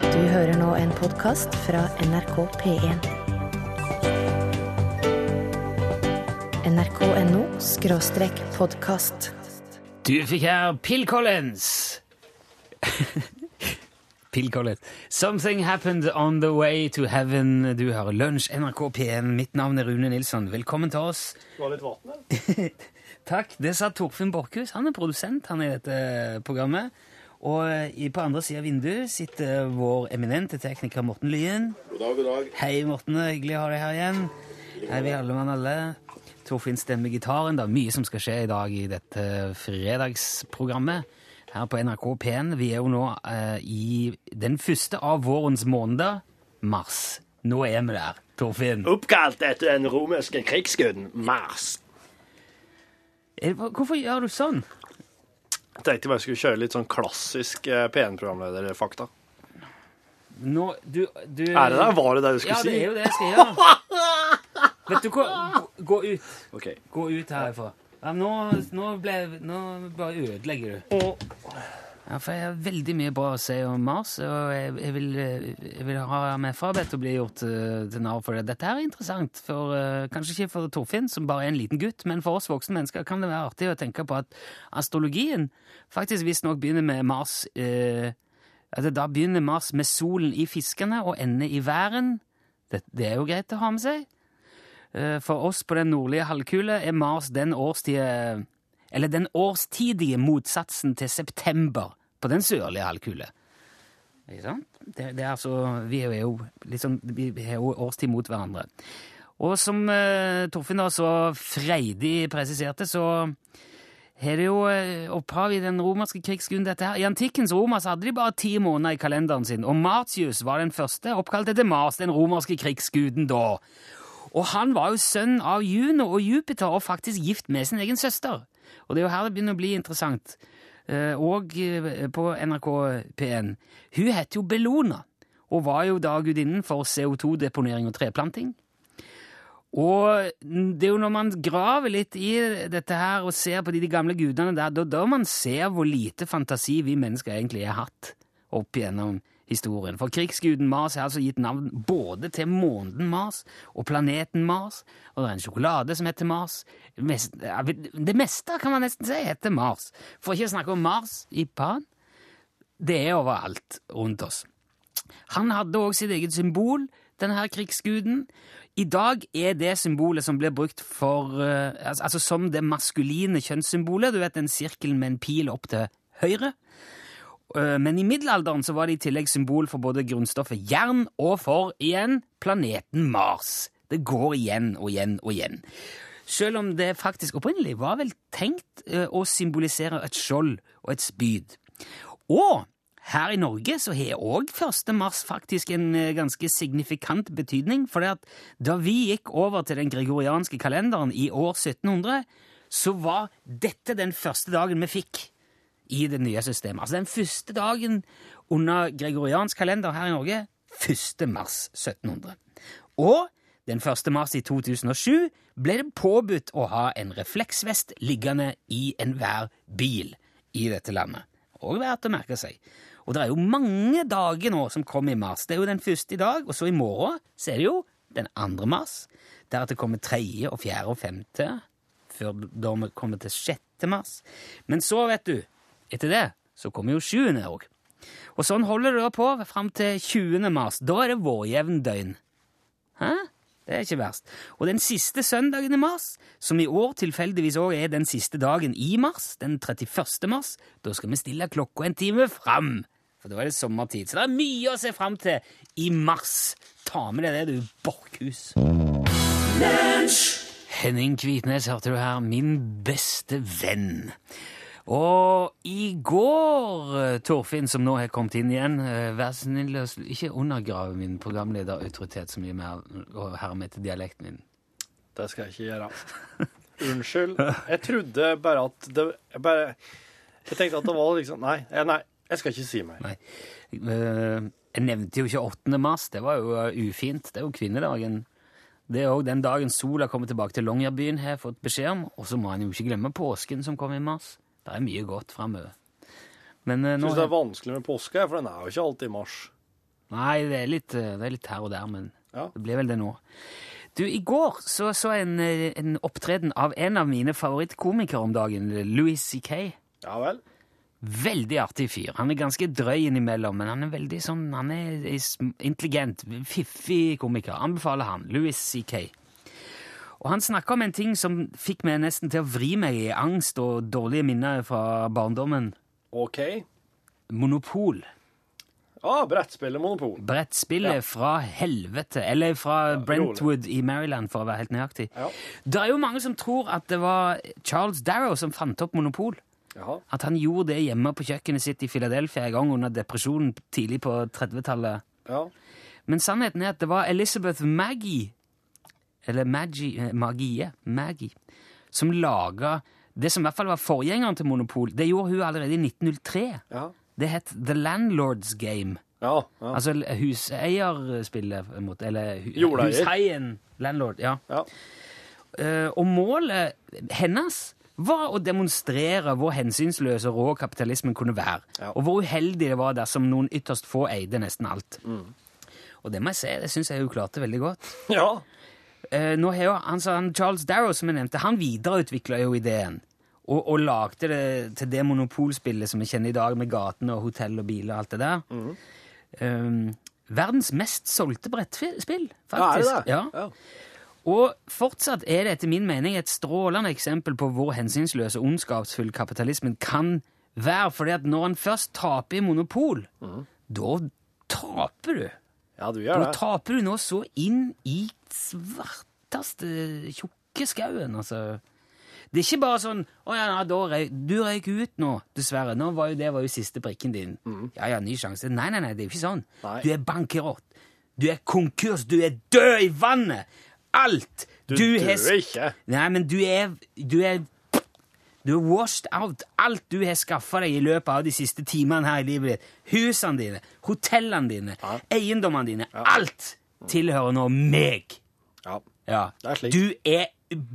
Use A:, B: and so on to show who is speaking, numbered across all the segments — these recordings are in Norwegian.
A: Du hører nå en podkast fra NRK P1. NRK.no skråstrek podkast.
B: Du fikk her Pill Collins. Pill Collins. Something happened on the way to heaven. Du hører Lunsj, NRK P1. Mitt navn er Rune Nilsson. Velkommen til oss.
C: Du har litt vann, eller?
B: Takk. Det sa Torfinn Borchhus. Han er produsent han er i dette programmet. Og eh, i- på andre sida av vinduet sitter vår eminente tekniker Morten Lyen.
C: God dag, god dag.
B: Hei, Morten. det er Hyggelig å ha deg her igjen. Hei, vi alle mann alle. Torfinn stemmer gitaren. Det er mye som skal skje i dag i dette fredagsprogrammet her på NRK P1. Vi er jo nå eh, i den første av vårens måneder, mars. Nå er vi der, Torfinn.
C: Oh. Oppkalt etter den romerske krigsguden Mars.
B: Er- Eh, Hvorfor gjør du sånn?
C: Jeg tenkte jeg bare skulle kjøre litt sånn klassisk eh, P1-programlederfakta.
B: Nå, du, du
C: Er det der? Var det det du
B: Mm. Ja,
C: skulle
B: det er jo
C: si?
B: det jeg skal gjøre. Vet du hva? Gå- Gå ut.
C: Ok.
B: Gå ut herfra. Ja, nå, nå, ble, nå bare ødelegger du. Ja, for jeg har veldig mye bra å si om Mars, og jeg, jeg, vil, eh, jeg vil ha meg frabedt å bli gjort eh, til narr for det. Dette her er interessant, for, eh, kanskje ikke for Torfinn, som bare er en liten gutt, men for oss voksne mennesker kan det være artig å tenke på at astrologien faktisk visstnok begynner med Mars eh, at det Da begynner Mars med solen i fiskene og ender i væren. Det, det er jo greit å ha med seg. Eh, For oss på den nordlige halvkule er Mars den årstige Eller den årstidige motsatsen til september på den sørlige halvkule. Ikke sant? Det, det er altså Vi er jo litt sånn Vi har jo årstid mot hverandre. Og som eh, Torfinn da så freidig presiserte, så har det jo eh, opphav i den romerske krigsguden, dette her. I antikkens Roma så hadde de bare ti måneder i kalenderen sin, og Martius var den første, oppkalt etter Mars, den romerske krigsguden da. Og han var jo sønn av Juno og Jupiter og faktisk gift med sin egen søster. Og det er jo her det begynner å bli interessant. Eh, Og eh, på NRK P1. Hun het jo Bellona og var jo da gudinnen for CO2-deponering og treplanting. Og det er jo når man graver litt i dette her og ser på de, de gamle gudene der, da, da man ser hvor lite fantasi vi mennesker egentlig har hatt opp gjennom historien. For krigsguden Mars har altså gitt navn både til måneden Mars og planeten Mars, og det er en sjokolade som heter Mars. Mest, ja, det meste kan man nesten si heter Mars. For ikke å snakke om Mars i Pan. Det er overalt rundt oss. Han hadde òg sitt eget symbol, denne krigsguden. I dag er det symbolet som blir brukt for eh, al- Altså som det maskuline kjønnssymbolet. Du vet en sirkel med en pil opp til høyre. Eh, Men i middelalderen så var det i tillegg symbol for både grunnstoffet jern og for, igjen, planeten Mars. Det går igjen og igjen og igjen. Selv om det faktisk opprinnelig var vel tenkt eh, å symbolisere et skjold og et spyd. Og her i Norge så har òg 1. mars faktisk en eh, ganske signifikant betydning, for at da vi gikk over til den gregorianske kalenderen i år 1700, så var dette den første dagen vi fikk i det nye systemet. Altså den første dagen under gregoriansk kalender her i Norge, 1. mars 1700. Og den 1. mars i 2007 ble det påbudt å ha en refleksvest liggende i enhver bil i dette landet. Og verdt å merke seg. Og det er jo mange dager nå som kommer i mars. Det er jo den første i dag, og så i morgen så er det jo den 2. mars. Deretter kommer 3. og 4. og 5. før da vi kommer til 6. mars. Men så, vet du, etter det så kommer jo 7. òg. Og sånn holder det da på fram til 20. mars. Da er det vårjevndøgn. Hæ? Det er ikke verst. Og den siste søndagen i mars, som i år tilfeldigvis òg er den siste dagen i mars, den 31. mars, da skal vi stille klokka en time fram. For da er det sommertid. Så det er mye å se fram til i mars. Ta med deg det, du Borchhus. Henning Kvitnes hørte du her, min beste venn. Og i går, eh, Torfinn, som nå har kommet inn igjen eh, Vær så snill å sl- ikke undergrave min programlederautoritet så mye mer og herme etter dialekten min.
C: Det skal jeg ikke gjøre. Unnskyld. Jeg trodde bare at det Jeg, bare, jeg tenkte at det var liksom Nei, jeg, nei, jeg skal ikke si mer.
B: Nei. Eh, Jeg nevnte jo ikke 8. mars. Det var jo eh, ufint. Det er jo kvinnedagen. Det er òg den dagen sola kommer tilbake til Longyearbyen, har jeg fått beskjed om. Og så må en jo ikke glemme påsken som kommer i mars. Det er mye godt framover. Men eh,
C: Jeg
B: nå
C: syns det er vanskelig med påske, for den er jo ikke alltid i mars.
B: Nei, det er litt, eh, det er litt her og der, men
C: Ja.
B: det ble vel det nå. Du, I går så, så jeg en, eh, en opptreden av en av mine favorittkomikere om dagen, Louis C.K.
C: Ja vel.
B: Veldig artig fyr. Han er ganske drøy innimellom, men han er veldig sånn, han er is- intelligent, fiffig komiker. Anbefaler han. Louis C.K. Og han snakka om en ting som fikk meg nesten til å vri meg i angst og dårlige minner fra barndommen.
C: OK.
B: Monopol.
C: Ah, brettspillet Monopol.
B: brettspillet
C: Ja.
B: fra helvete, eller fra Brentwood i Maryland, for å være helt nøyaktig.
C: Ja.
B: Det er jo mange som tror at det var Charles Darrow som fant opp monopol.
C: Jaha.
B: At han gjorde det hjemme på kjøkkenet sitt i Philadelphia en gang under depresjonen tidlig på 30-tallet.
C: Ja.
B: Men sannheten er at det var Elizabeth Maggie, eller Maggie, eh, Magie, Maggie, som laga det som i hvert fall var forgjengeren til Monopol. Det gjorde hun allerede i 1903.
C: Ja.
B: Det het The Landlord's Game.
C: Ja. ja.
B: Altså l- huseierspillet, på en måte, eller hu
C: Jordeier.
B: husheien, landlord, ja.
C: ja.
B: Eh, og målet hennes var å demonstrere hvor hensynsløs og rå kapitalismen kunne være,
C: Ja.
B: og hvor uheldig det var dersom noen ytterst få eide nesten alt.
C: Mm.
B: Og det må jeg si, det syns jeg hun klarte veldig godt.
C: ja.
B: Eh, nå har jo, han, sa han, Charles Darrow, som jeg nevnte, han videreutvikla jo ideen. Og, og lagde det til det monopolspillet som vi kjenner i dag, med gatene og hotell og biler og alt det der.
C: Mm.
B: Eh, verdens mest solgte brettspill,
C: ja er
B: faktisk.
C: det det?
B: Ja. Og fortsatt er det etter min mening et strålende eksempel på hvor hensynsløs og ondskapsfull kapitalismen kan være, fordi at når han først taper i monopol, da taper du.
C: Mhm. ja, du gjør
B: Nå
C: det.
B: taper du nå så inn i svarteste tjukke skauen, altså. Det er ikke bare sånn 'Å ja, nei, da røy, du røyk ut nå, dessverre. Nå var jo, det var jo siste brikken din. Ja ja, ny sjanse. Nei, nei, nei, det er jo ikke sånn.
C: Mhm. Nei.
B: Du er bankerott. Du er konkurs. Du er død i vannet! Alt!
C: Du,
B: har
C: dør
B: sk-
C: ikke.
B: Nei, men du er Du er du er washed out. Alt du har skaffa deg i løpet av de siste timene her i livet ditt. Husene dine, hotellene dine, eiendommene dine. Alt tilhører nå meg.
C: Ja.
B: Ja.
C: Det er slik.
B: Du er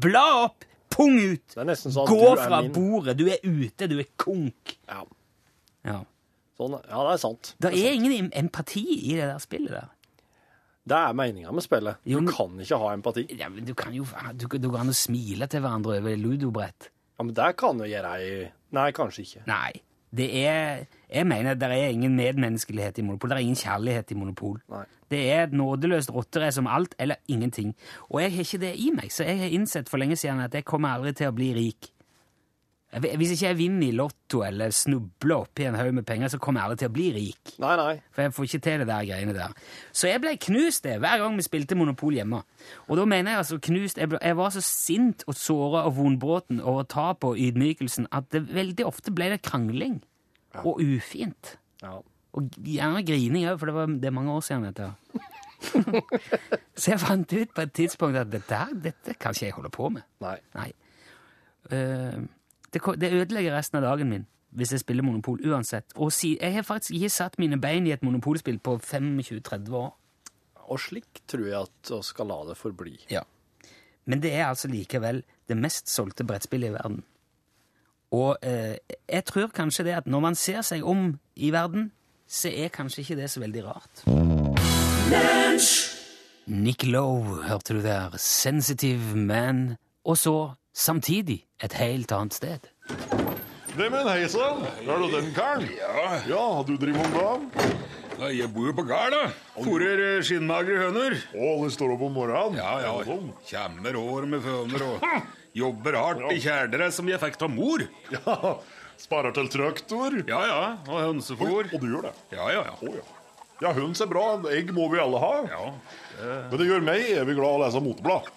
B: Bla opp! Pung ut!
C: Det er nesten sånn at
B: Gå
C: du er
B: fra
C: min.
B: bordet. Du er ute. Du er konk.
C: Ja.
B: Ja.
C: Sånn, ja, det er sant.
B: Det er ingen em- empati i det der spillet der.
C: Det er meninga med spillet.
B: Jo,
C: Du
B: men-
C: kan ikke ha empati.
B: Ja, men du kan jo du, du kan jo smile til hverandre over ludobrett.
C: Ja, Men det kan jo gjøre ei Nei, kanskje ikke.
B: Nei. Det er, jeg mener at det er ingen medmenneskelighet i monopol. Det er ingen kjærlighet i monopol.
C: Nei.
B: Det er et nådeløst rotterace om alt eller ingenting. Og jeg har ikke det i meg, så jeg har innsett for lenge siden at jeg kommer aldri til å bli rik. Jeg- Hvis ikke jeg vinner i lotto eller snubler oppi en haug med penger, så kommer jeg aldri til å bli rik.
C: Nei, nei.
B: For jeg får ikke til det der greiene der. Så jeg ble knust det hver gang vi spilte Monopol hjemme. Og da mener jeg altså knust Jeg, ble, jeg var så sint og såra og vondbråten over tapet og ydmykelsen at det veldig ofte ble det krangling. Og ufint.
C: Ja.
B: Og gjerne grining òg, for det, var, det er mange år siden dette. så jeg fant ut på et tidspunkt at dette, her- dette kan ikke jeg holde på med.
C: Nei.
B: Nei. Eh, det, ko- det ødelegger resten av dagen min hvis jeg spiller Monopol uansett. Og si, jeg har faktisk ikke satt mine bein i et monopolspill på 25-30 år.
C: Og slik tror jeg at vi skal la det forbli.
B: Men det er altså likevel det mest solgte brettspillet i verden. Og eh, jeg tror kanskje det at når man ser seg om i verden, så er kanskje ikke det så veldig rart. Nick Lowe hørte du der. Sensitive Man. Og så, samtidig, et helt annet sted.
D: Neimen, hei sann! Er du den karen?
E: Ja,
D: Ja, du driver med gav?
E: nei, jeg bor jo på gard, da. Fôrer eh, skinnmagre høner.
D: Å, det står opp om morgenen? sånn.
E: Ja, Hm. ja. Kjemmer år med føner og jobber hardt i kjeledress som jeg fikk av mor.
D: ja. Sparer til traktor?
E: Ja, ja. Og hønsefôr.
D: Og du gjør det?
E: Ja, ja,
D: Å
E: ja.
D: ja. Ja, høns er bra. Egg må vi alle ha.
E: Ja,
D: Men det gjør meg evig glad å lese moteblad.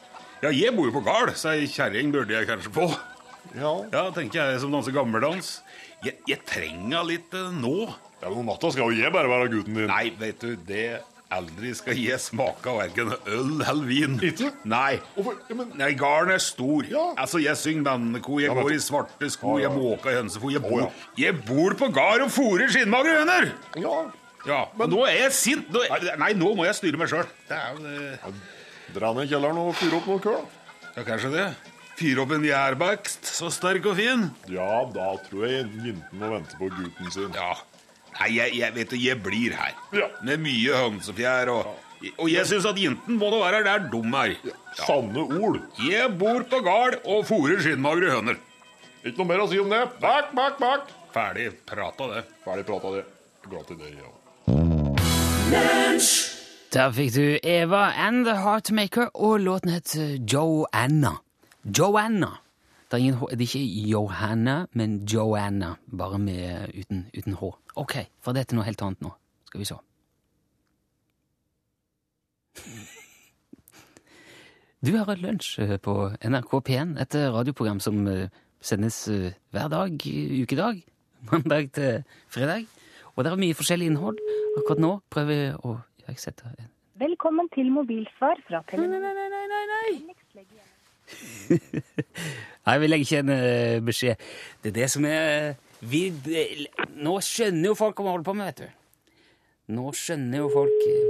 E: ja jeg bor jo på gard, så ei kjerring burde jeg kanskje få.
D: Ja.
E: Ja, tenker jeg som danser gammeldans. Jeg, jeg trenger litt eh, nå.
D: ja, men om natta skal jo jeg bare være gutten din.
E: Nei, vet du, det aldri skal jeg smake av verken øl eller vin.
D: Ikke?
E: Nei.
D: Hvorfor? Ja, men
E: Nei, garden er stor.
D: Ja.
E: Altså, Jeg synger bandeko, jeg
D: Ja, men-
E: går i svarte sko,
D: Ja, ja.
E: jeg måker hønsefo. Jeg bor,
D: ja.
E: jeg bor på gard og fôrer skinnmagre høner!
D: Ja.
E: Ja, men nå er jeg sint! Nå, nei, nå må jeg styre meg sjøl. Det er jo det.
D: Dra ned i kjelleren og fyre opp noe køl.
E: Ja, kanskje det. Fyre opp en gjærbakst, så sterk og fin.
D: Ja, da tror jeg jenten må vente på gutten sin.
E: Ja.
F: Nei, jeg, jeg vet det, jeg blir her.
D: Ja.
F: Med mye hønsefjær og Og jeg syns at jenten må da være her, det er dum her.
D: Sanne ord.
F: Jeg bor på gard og fôrer skinnmagre høner.
D: Ikke noe mer å si om det. Bak, bak, bak.
F: Ferdig prata, det.
D: Ferdig prata, det. Glad til det, ja.
B: Der fikk du Eva and The Heartmaker, og låten het eh, Joanna. Joanna. Det er, ingen, H- det er ikke Johanna, men Joanna, bare med, eh, uten, uten H. Ok, for dette er noe helt annet nå. Skal vi se. Du hører lunsj eh, på NRK P1, et radioprogram som eh, sendes eh, hver dag, eh, ukedag, mandag til fredag. Og det er mye forskjellig innhold. Akkurat nå prøver jeg å iverksette en
G: Velkommen til mobilsvar fra Telenor.
B: Nei, nei, nei, nei! Nei, vi legger ikke en eh, beskjed. Det er det som er vi, det- Nå skjønner jo folk hva vi holder på med, vet du. Nå skjønner jo folk eh,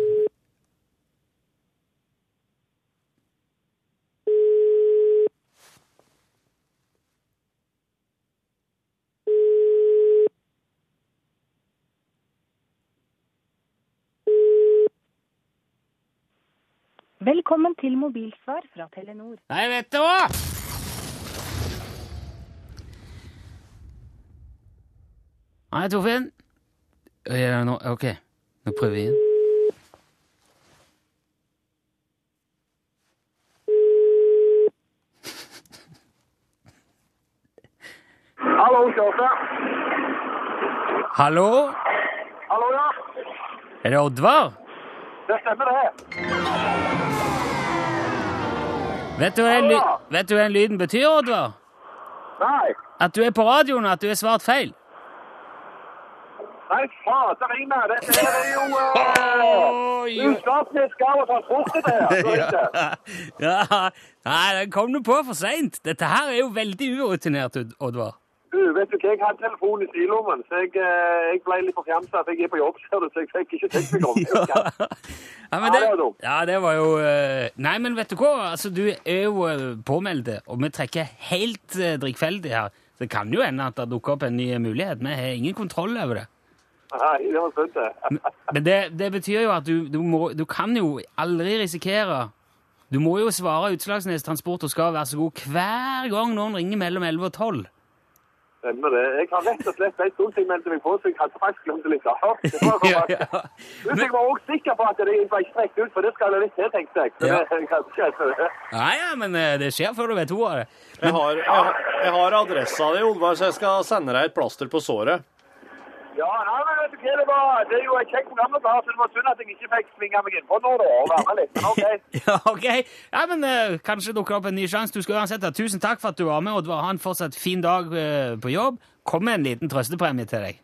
G: Velkommen til mobilsvar fra Telenor.
B: Nei, vet du hva! Nei, Torfinn. Ja, nå, ok, nå prøver vi igjen.
H: Hallo, Kjåse.
B: Hallo?
H: Hallo, ja.
B: Er det Oddvar?
H: Det stemmer, det.
B: Vet du, hva den ly vet du hva den lyden betyr, Oddvar?
H: Nei,
B: At du er på radioen, og at du er svart feil.
H: nei, fader i meg. Dette her er jo uh, Ustatens gav og transport, dette her. altså, Så er det.
B: ja. Nei, den kom du på for seint. Dette her er jo veldig urutinert, Ud- Oddvar.
H: Du, vet du hva, jeg hadde telefonen i sidelommen, så jeg, eh, jeg ble litt forfjamsa. For jeg er på jobb, ser du, så jeg fikk ikke tenkt meg om.
B: Ja,
H: Ja, det var dumt.
B: ja, det var jo eh, Nei, men vet du hva? Altså, du er jo eh, påmeldt, og vi trekker helt eh, drikkfeldig her. Så Det kan jo hende at det dukker opp en ny mulighet. Vi har ingen kontroll over det.
H: Nei, det var sunt, det.
B: Men det, det betyr jo at du, du, må, du kan jo aldri risikere Du må jo svare Utslagsnes Transport og skal være så god hver gang noen ringer mellom 11 og 12.
H: Stemmer det. Jeg har rett og slett en stund siden jeg meldte meg på, så jeg hadde faktisk glemt det litt. Ja, det
B: Ja,
H: var for-
B: ja.
H: Men jeg var også sikker på at det ikke var strekt ut, for det skal jeg litt til, tenkte jeg. Så
B: Ja.
H: det kan ikke jeg.
B: Nei, ja, men eh, det skjer før du vet ordet av det.
I: Jeg har, jeg, har- jeg har adressa di, Oddvar, så jeg skal sende deg et plaster på såret.
H: Ja, nei, men vet du hva det var? Det er jo et kjekt program dere har, så det var synd at jeg ikke fikk svinge meg innpå nå, da, og være med litt. Men OK.
B: Ja, ok. Ja, men eh, Kanskje dukker det opp en ny sjanse. Du skal uansett ha tusen takk for at du var med, Oddvar. Ha en fortsatt fin dag eh, på jobb. Kom med en liten trøstepremie til deg.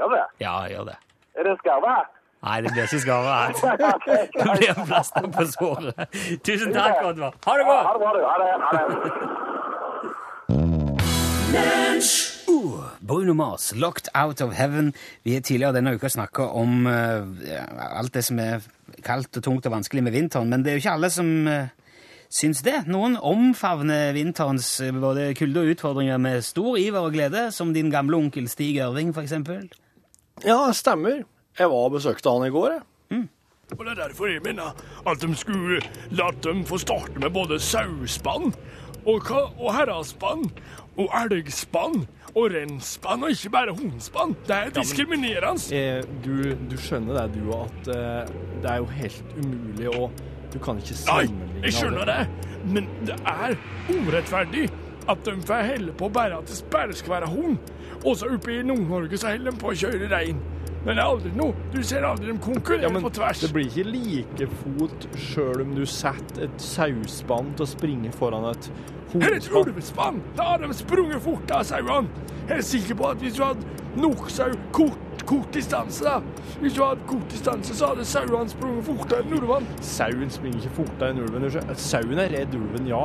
H: Gjør det.
B: Ja, gjør det.
H: Er det skarve?
B: Nei, det blir ikke skarre her. Det
H: ha
B: blir plaster på såret. Tusen takk, Oddvar. Ha det godt!
H: det bra, du. Ha det. Ha det.
B: Uh, Bruno Mars, 'Locked Out of Heaven'. Vi har tidligere denne uka snakka om eh, ja, alt det som er kaldt og tungt og vanskelig med vinteren, men det er jo ikke alle som eh, syns det. Noen omfavner vinterens eh, både kulde og utfordringer med stor iver og glede, som din gamle onkel Stig Ørving, for eksempel.
I: Ja, det stemmer. Jeg var og besøkte han i går, jeg.
E: Og det er derfor jeg mener at de skulle latt dem få starte med både sauespann og, ka- og herrespann og elgspann og rennspann og ikke bare hundspann. Det er diskriminerende.
C: Eh, du, du skjønner det, du, at eh, det er jo helt umulig å Du kan ikke
E: Nei,
C: sammenligne
E: jeg skjønner det, men det er urettferdig at de får helle på bare at det bare skal være hund. Også oppe i Nord-Norge så holder de på å kjøre rein. Men det er aldri noe. Du ser aldri dem
C: Ja,
E: konkurrere
C: men
E: på tvers.
C: det blir ikke like fot sjøl om du setter et sauespann til å springe foran et
E: Her er et
C: hodespann.
E: ulvespann! Da har de sprunget fort av sauene. Jeg er sikker på at hvis du hadde nok sau kort, kort distanse, da Hvis du hadde kort distanse, så hadde sauene sprunget fortere enn ulvene.
C: Sauen springer ikke fortere enn ulven. du skjønner. Sauen er redd ulven, ja,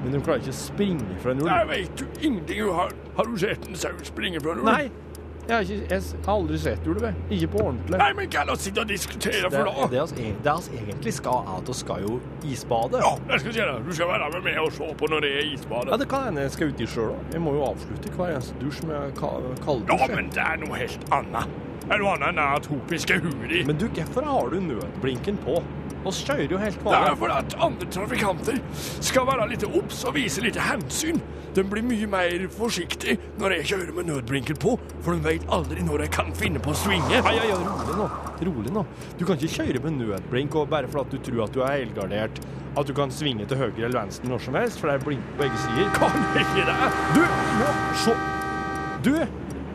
C: men hun klarer ikke å springe fra en
E: Der
C: ulv.
E: vet du ingenting. Du har, har du sett en sau springe fra en ulv?
C: Nei, jeg har, ikke, jeg har aldri sett ulv, jeg. Ikke på ordentlig.
E: Nei, men kan vi sitte og diskutere
C: Det
E: for
C: det
E: da?
C: oss e- det oss egentlig skal, er at vi skal jo isbade.
E: Ja, jeg skal si det. Du skal være med meg og se på når det er
C: Ja,
E: isbade.
C: det kan hende jeg skal uti sjøl òg. Jeg må jo avslutte hver eneste dusj med ka-
E: Ja,
C: kalddusj. jeg.
E: men det er noe helt annet.
D: eller noe annet enn det atopiske huet ditt.
C: Men du, hvorfor har du nødblinken på? Oss kjører jo helt
D: Det
C: vanlig.
D: er for at andre trafikanter skal være litt obs og vise litt hensyn. De blir mye mer forsiktig når jeg kjører med nødblinken på, for de vet aldri når jeg kan finne på å svinge.
C: Ai, ai, ai, rolig nå. Rolig nå. Du kan ikke kjøre med nødblink og bare fordi du tror at du er helgardert, at du kan svinge til høyre eller venstre når som helst, for det er blink på begge sider.
D: Kan jeg ikke det?
C: Du, nå, så Du,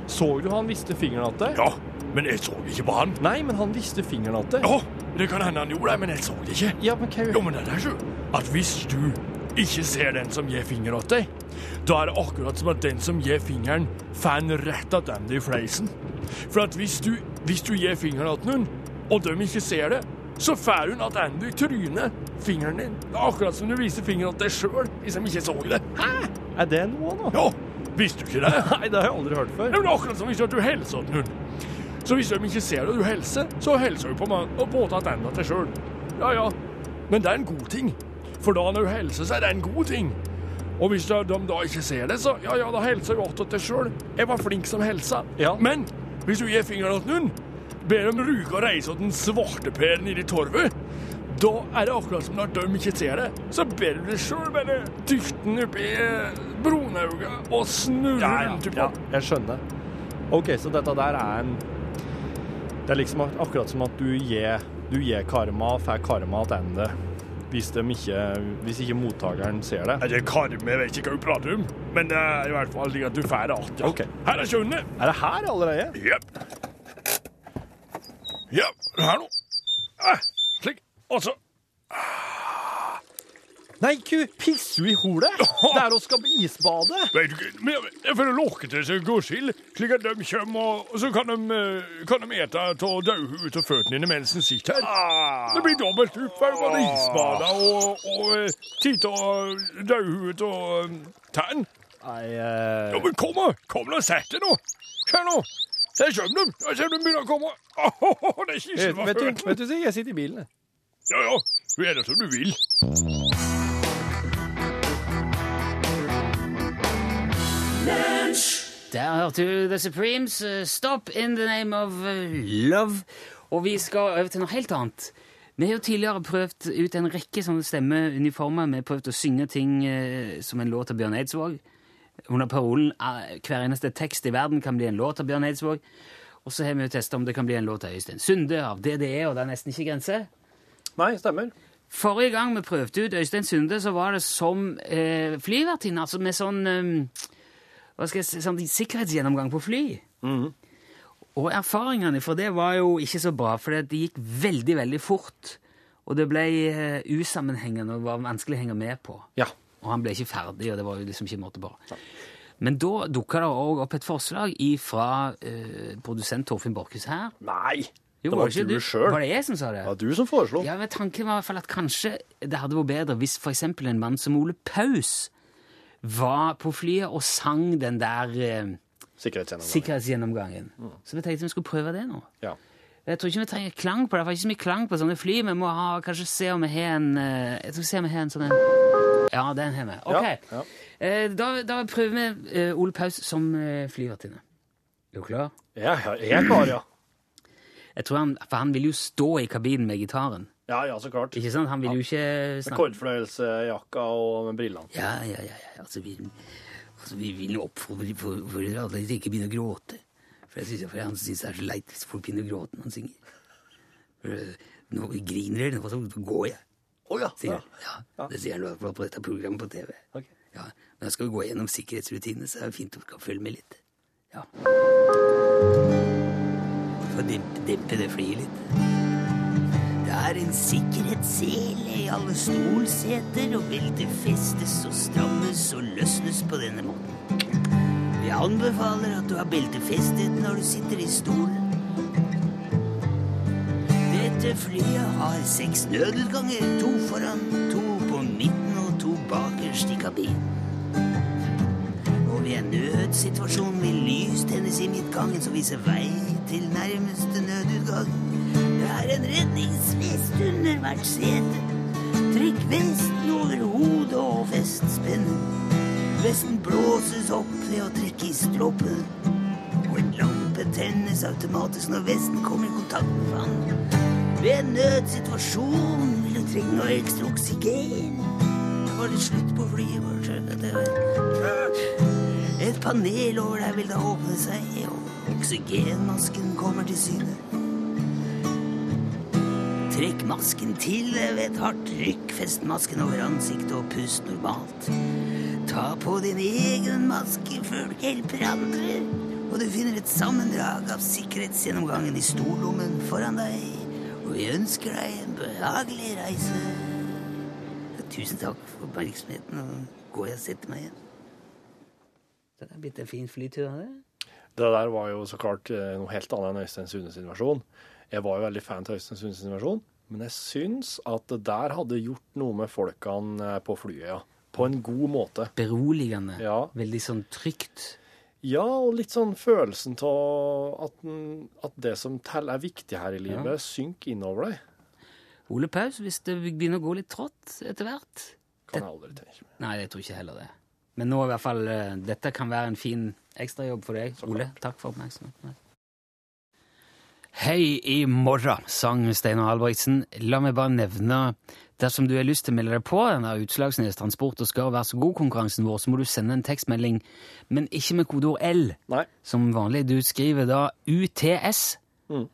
C: så du han visste fingeren at det?
D: Ja, men jeg så ikke på han.
C: Nei, men han visste fingeren at det.
D: Ja, det kan hende han gjorde det, men jeg så det ikke.
C: Ja, men hva
D: Jo, men det er så at hvis du ikke ser den som gir finger åt deg, da er det akkurat som at den som gir fingeren, får en rett av den i fleisen. For at hvis du, hvis du gir fingeren åt noen, og de ikke ser det, så får hun at Andy tryner fingeren din. Det er akkurat som du viser fingeren åt deg sjøl, hvis de ikke så det. Hæ?
C: Er det noe nå?
D: Ja, visste du ikke det?
C: Nei, det har jeg aldri hørt før.
D: Det er akkurat som hvis du hilser til noen. Så hvis de ikke ser at du hilser, så hilser du på meg og båter tilbake til deg sjøl. Ja, ja. Men det er en god ting. For da når du hilser, så er det en god ting. Og hvis da- de da ikke ser det, så ja, ja, da hilser du åt deg sjøl. Jeg var flink som hilsa.
C: Ja.
D: Men hvis du gir fingeren til noen, ber dem ruke og reise åt den svarte per nede i torvet, da er det akkurat som når de ikke ser det, så ber du deg sjøl bare dytte den oppi eh, brunauget og snurre
C: Ja, ja,
D: rundt
C: ja,
D: på.
C: jeg skjønner. OK, så dette der er en Det er liksom ak- akkurat som at du gir, du gir karma, får karma tilbake hvis, de ikke, hvis ikke mottakeren ser det.
D: Nei, det er karme, jeg vet ikke hva du prater om, men det er i hvert fall slik at du får det alt, ja.
C: Ok.
D: Her er kjønnet.
C: Er det her allerede?
D: Jep. Ja, er det her nå. Eh, Slik. Altså, Og så.
C: Nei, ku, pisser du i holet? Der vi skal isbade?
D: Vet du ikke, men jeg- jeg får lokke til seg godskill, slik at de kommer, og, og så kan de, eh, kan de ete av dødhuet til føttene dine mens de sitter her. Det blir dobbelt opp, for både isbada og, og eh, titte av dødhuet og eh, tann.
C: Nei, eh,
D: Ja, men kom, da! Kom da, sett deg nå! Se nå! Der kommer de! Der kommer de begynner å komme! Åhåhå, det er
C: vet,
D: kissen var
C: Eh, vet
D: hørt!
C: du, vet du, si, jeg sitter i bilen. jeg.
D: Ja, ja. Du er det som du vil.
B: Der hørte du The Supremes, eh, Stop in the name of eh, love. Og vi skal over til noe helt annet. Vi har jo tidligere prøvd ut en rekke sånne stemmeuniformer. Vi har prøvd å synge ting eh, som en låt av Bjørn Eidsvåg. Under parolen eh, 'Hver eneste tekst i verden kan bli en låt av Bjørn Eidsvåg'. Og så har vi jo testa om det kan bli en låt av Øystein Sunde, av DDE, og det er nesten ikke grenser.
C: Nei, stemmer.
B: Forrige gang vi prøvde ut Øystein Sunde, så var det som eh, flyvertinne, altså med sånn, eh, hva skal jeg si, sånn sikkerhetsgjennomgang på fly. Og erfaringene fra det var jo ikke så bra, for det gikk veldig, veldig fort. Og det ble eh, usammenhengende og var vanskelig å henge med på.
C: Ja.
B: Og han ble ikke ferdig, og det var jo liksom ikke måte på. Men da dukka det òg opp et forslag fra eh, produsent Torfinn Borchhus her.
C: Nei,
B: Jo,
C: det var
B: ikke
C: du sjøl.
B: Var det jeg som sa det?
C: Det var du som foreslo.
B: Ja, men tanken var i hvert fall at kanskje det hadde vært bedre hvis for eksempel en mann som Ole Paus var på flyet og sang den der eh,
C: Sikkerhetsgjennomgang.
B: sikkerhetsgjennomgangen. Så vi tenkte vi skulle prøve det nå.
C: Ja.
B: Jeg tror ikke vi trenger klang på det, for det er ikke så mye klang på sånne fly. Vi må ha, kanskje se om vi har en eh, Jeg tror vi ser om vi har en sånn en Ja, den har vi. Ok.
C: Ja,
B: Eh, Da, da prøver vi eh, Ole Paus som eh, flyvertinne. Er du klar?
C: Ja, ja, jeg er klar, ja.
B: Jeg tror han, For han vil jo stå i kabinen med gitaren.
C: Ja, ja, så klart.
B: Ikke sant? Han vil jo ikke snakke.
C: Kordfløyelsjakka og med brillene.
B: Ja, ja, ja, ja. Altså, vi, altså, vi vil oppfordre for, for alle til ikke å begynne å gråte. For jeg synes, for han synes det er så leit hvis folk begynner å gråte når han synger. For, eh, nå griner dere, nå så går jeg,
C: Å ja.
B: sier han. Ja, det sier han i hvert fall på dette programmet på TV.
C: Ok.
B: Ja, men jeg skal jo gå gjennom sikkerhetsrutinene, så det er fint å kan følge med litt. Ja. Få dempe, dempe det flyet litt. Det er en sikkerhetssele i alle stolseter, og beltet festes og strammes og løsnes på denne måten. Jeg anbefaler at du har beltet festet når du sitter i stolen. Dette flyet har seks nødutganger, to foran, to på midten og to bakerst i kabinen. Og ved en nødsituasjon vil lys tennes i midtgangen som viser vei til nærmeste nødutgang. Det er en redningsvest under hvert sete. Trekk vesten over hodet og fest spennen. Vesten blåses opp ved å trekke i stroppen. Og en lampe tennes automatisk når vesten kommer i kontakt med vann. Ved en nødsituasjon vil du trenge noe ekstra oksygen. Da var det slutt på flyet vårt. skjønner du. Et panel over deg vil da åpne seg, og oksygenmasken kommer til syne. Trekk masken til ved et hardt trykk. Fest masken over ansiktet og pust normalt. Ta på din egen maske før du hjelper andre. Og du finner et sammendrag av sikkerhetsgjennomgangen i stollommen foran deg. Og vi ønsker deg en behagelig reise. Ja, tusen takk for oppmerksomheten. og Går jeg og setter meg igjen. Det er blitt en fin flytur av det.
C: Det der var jo så klart eh, noe helt annet enn Øystein Sune sin versjon. Jeg var jo veldig fan av Øystein Sune sin versjon, men jeg syns at det der hadde gjort noe med folkene eh, på flyet, ja. På en god måte.
J: Beroligende.
C: Ja,
J: Veldig sånn trygt.
C: ja og litt sånn følelsen av at, den- at det som teller, er viktig her i livet,
J: Ja.
C: synker innover deg.
J: Ole Paus, hvis det begynner å gå litt trått etter hvert
C: Kan jeg aldri tenke meg.
J: Nei, jeg tror ikke heller det. Men nå i hvert fall, eh, dette kan være en fin ekstrajobb for deg, Ole. Takk for oppmerksomheten. Hei i morgen, sang Steinar Albrigtsen. La meg bare nevne, dersom du har lyst til å melde deg på den der Utslagsnes transport og skal være så god-konkurransen vår, så må du sende en tekstmelding, men ikke med kodeord L,
C: Nei.
J: som vanlig. Du skriver da UTS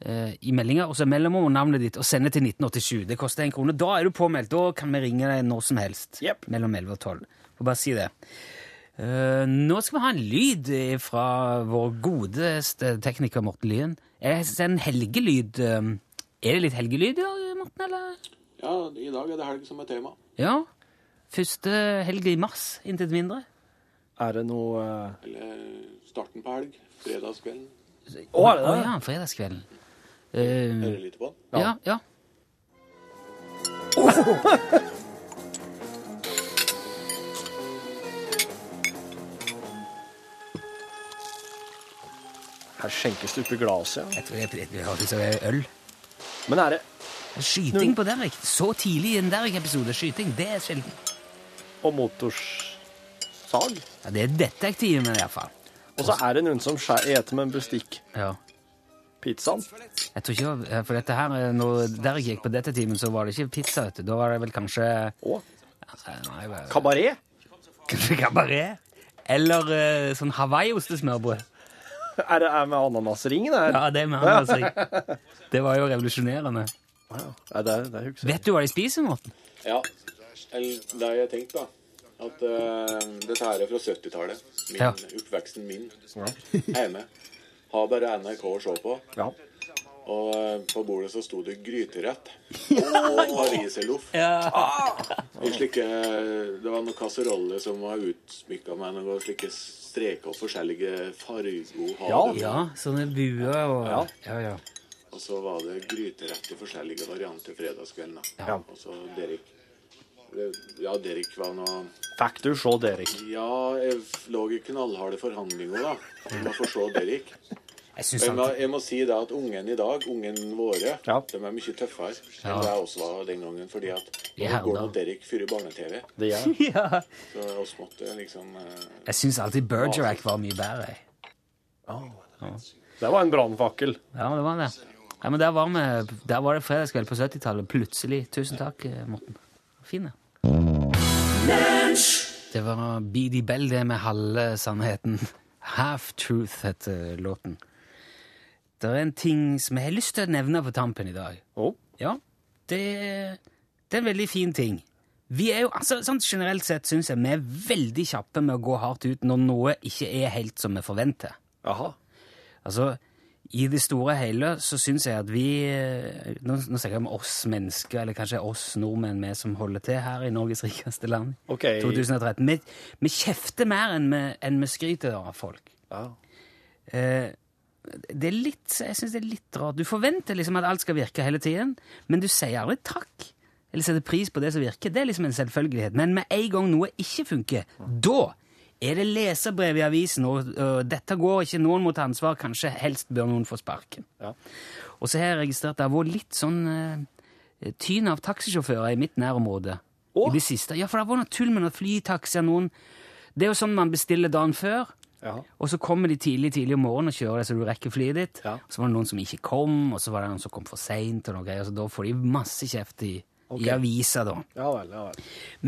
J: eh, i meldinga, og så mellomord og navnet ditt, og sender til 1987. Det koster en krone. Da er du påmeldt. Da kan vi ringe deg når som helst.
C: Jep.
J: Mellom 11 og 12. Får bare si det. Eh, nå skal vi ha en lyd fra vår godeste tekniker Morten Lyen. Er det en helgelyd eh, Er det litt helgelyd i dag, Morten, eller?
D: Ja, i dag er det helg som er tema.
J: Ja. Første helg i mars, intet mindre.
C: Er det noe eh,
D: Eller starten på helg. Fredagskvelden.
C: Å, er det det?
J: ja, fredagskvelden. Eh,
D: Hører litt på.
J: ja, ja.
C: Her skjenkes det oppi glasset, ja.
J: Jeg tror jeg, jeg, jeg, jeg, jeg, jeg øl.
C: Men er det
J: Skyting på Derrick. Så tidlig i en Derrick-episode. Skyting, det er sjelden.
C: Og motorssag?
J: Ja, det er detektiven, i hvert fall.
C: Og så er det noen som spiser med en bestikk
J: Ja.
C: pizzaen.
J: Jeg tror ikke, eh, for dette her, eh, Når Derrick gikk på detektiven, så var det ikke pizza. vet du. Da var det vel kanskje
C: Å,
J: eh, nei, hva-
C: kabaret?
J: kanskje kabaret. Eller eh, sånn Hawaii-ostesmørbrød.
C: Er det er med ananasringen? Er,
J: Ja, det er med han, altså. Det var jo revolusjonerende.
C: Nei, det, det husker jeg.
J: Vet du hva de spiser, Morten?
D: Ja. Eller det har jeg tenkt, da. At eh, dette her er fra 70-tallet. Min
J: Ja.
D: Oppveksten min. Hjemme. Har bare NRK å se på.
C: Ja.
D: Og eh, på bordet så sto det gryterett. Og pariserloff. I slike eh, Det var noen kasseroller som var utsmykka med noen slike streker og forskjellige farger.
C: Ja.
J: Ja, sånne buer og Ja, ja.
D: Og så var det gryterett i forskjellige varianter fredagskvelden. da.
C: Ja.
D: Og så Derek. Ja, Derek var noe
C: Fikk du se Derek?
D: Ja, jeg f- lå i knallharde forhandlinger, da. Om å forstå Derek.
J: Jeg
D: Og
J: syns
D: jeg må,
J: han
D: jeg må si det at ungen i dag, ungen våre,
C: Ja.
D: de er mye tøffere
J: Ja.
D: enn det jeg også var den gangen. Fordi at
J: I
D: nå går
J: Herda.
D: nå Derek fyr i barne-TV.
C: Det gjør jeg.
J: ja.
D: Så oss måtte liksom eh,
J: Jeg syns alltid Bergerac var mye bedre. jeg.
C: Det var en brannfakkel.
J: Ja, det var det. Ja, men der var, vi, der var det fredagskveld på 70-tallet. Plutselig. Tusen takk, eh, Morten. Fin, det. Det var BD Bell, det med halve sannheten. Half Truth heter låten. Det er en ting som jeg har lyst til å nevne på tampen i dag.
K: Oh.
C: Å.
J: Ja, det, det er en veldig fin ting. Vi er jo, altså, sånn Generelt sett syns jeg vi er veldig kjappe med å gå hardt ut når noe ikke er helt som vi forventer.
C: Jaha.
J: Altså, i det store og hele så syns jeg at vi eh, Nå, nå snakker jeg om oss mennesker, eller kanskje oss nordmenn, vi som holder til her i Norges rikeste land.
C: OK.
J: 2013. Vi, vi kjefter mer enn vi, enn vi skryter av folk.
C: Ja.
J: Eh, det er litt, jeg syns det er litt rart. Du forventer liksom at alt skal virke hele tiden, men du sier aldri takk. Eller setter pris på det som virker. Det er liksom en selvfølgelighet. Men med en gang noe ikke funker, da er det leserbrev i avisen, og, og dette går ikke, noen må ta ansvar, kanskje helst bør noen få sparken.
C: Ja.
J: Og så har jeg registrert at det har vært litt sånn eh, tyn av taxisjåfører i mitt nærområde.
C: Åh?
J: I det siste. Ja, for det har vært noe tull med noen flytaxier, noen Det er jo sånn man bestiller dagen før. Og så kommer de tidlig tidlig om morgenen og kjører deg så du rekker flyet ditt. Og så var det noen som ikke kom, og så var det noen som kom for seint, og noe greier, så da får de masse kjeft i,
K: Ok.
J: i avisa, da.
K: Ja vel, ja vel.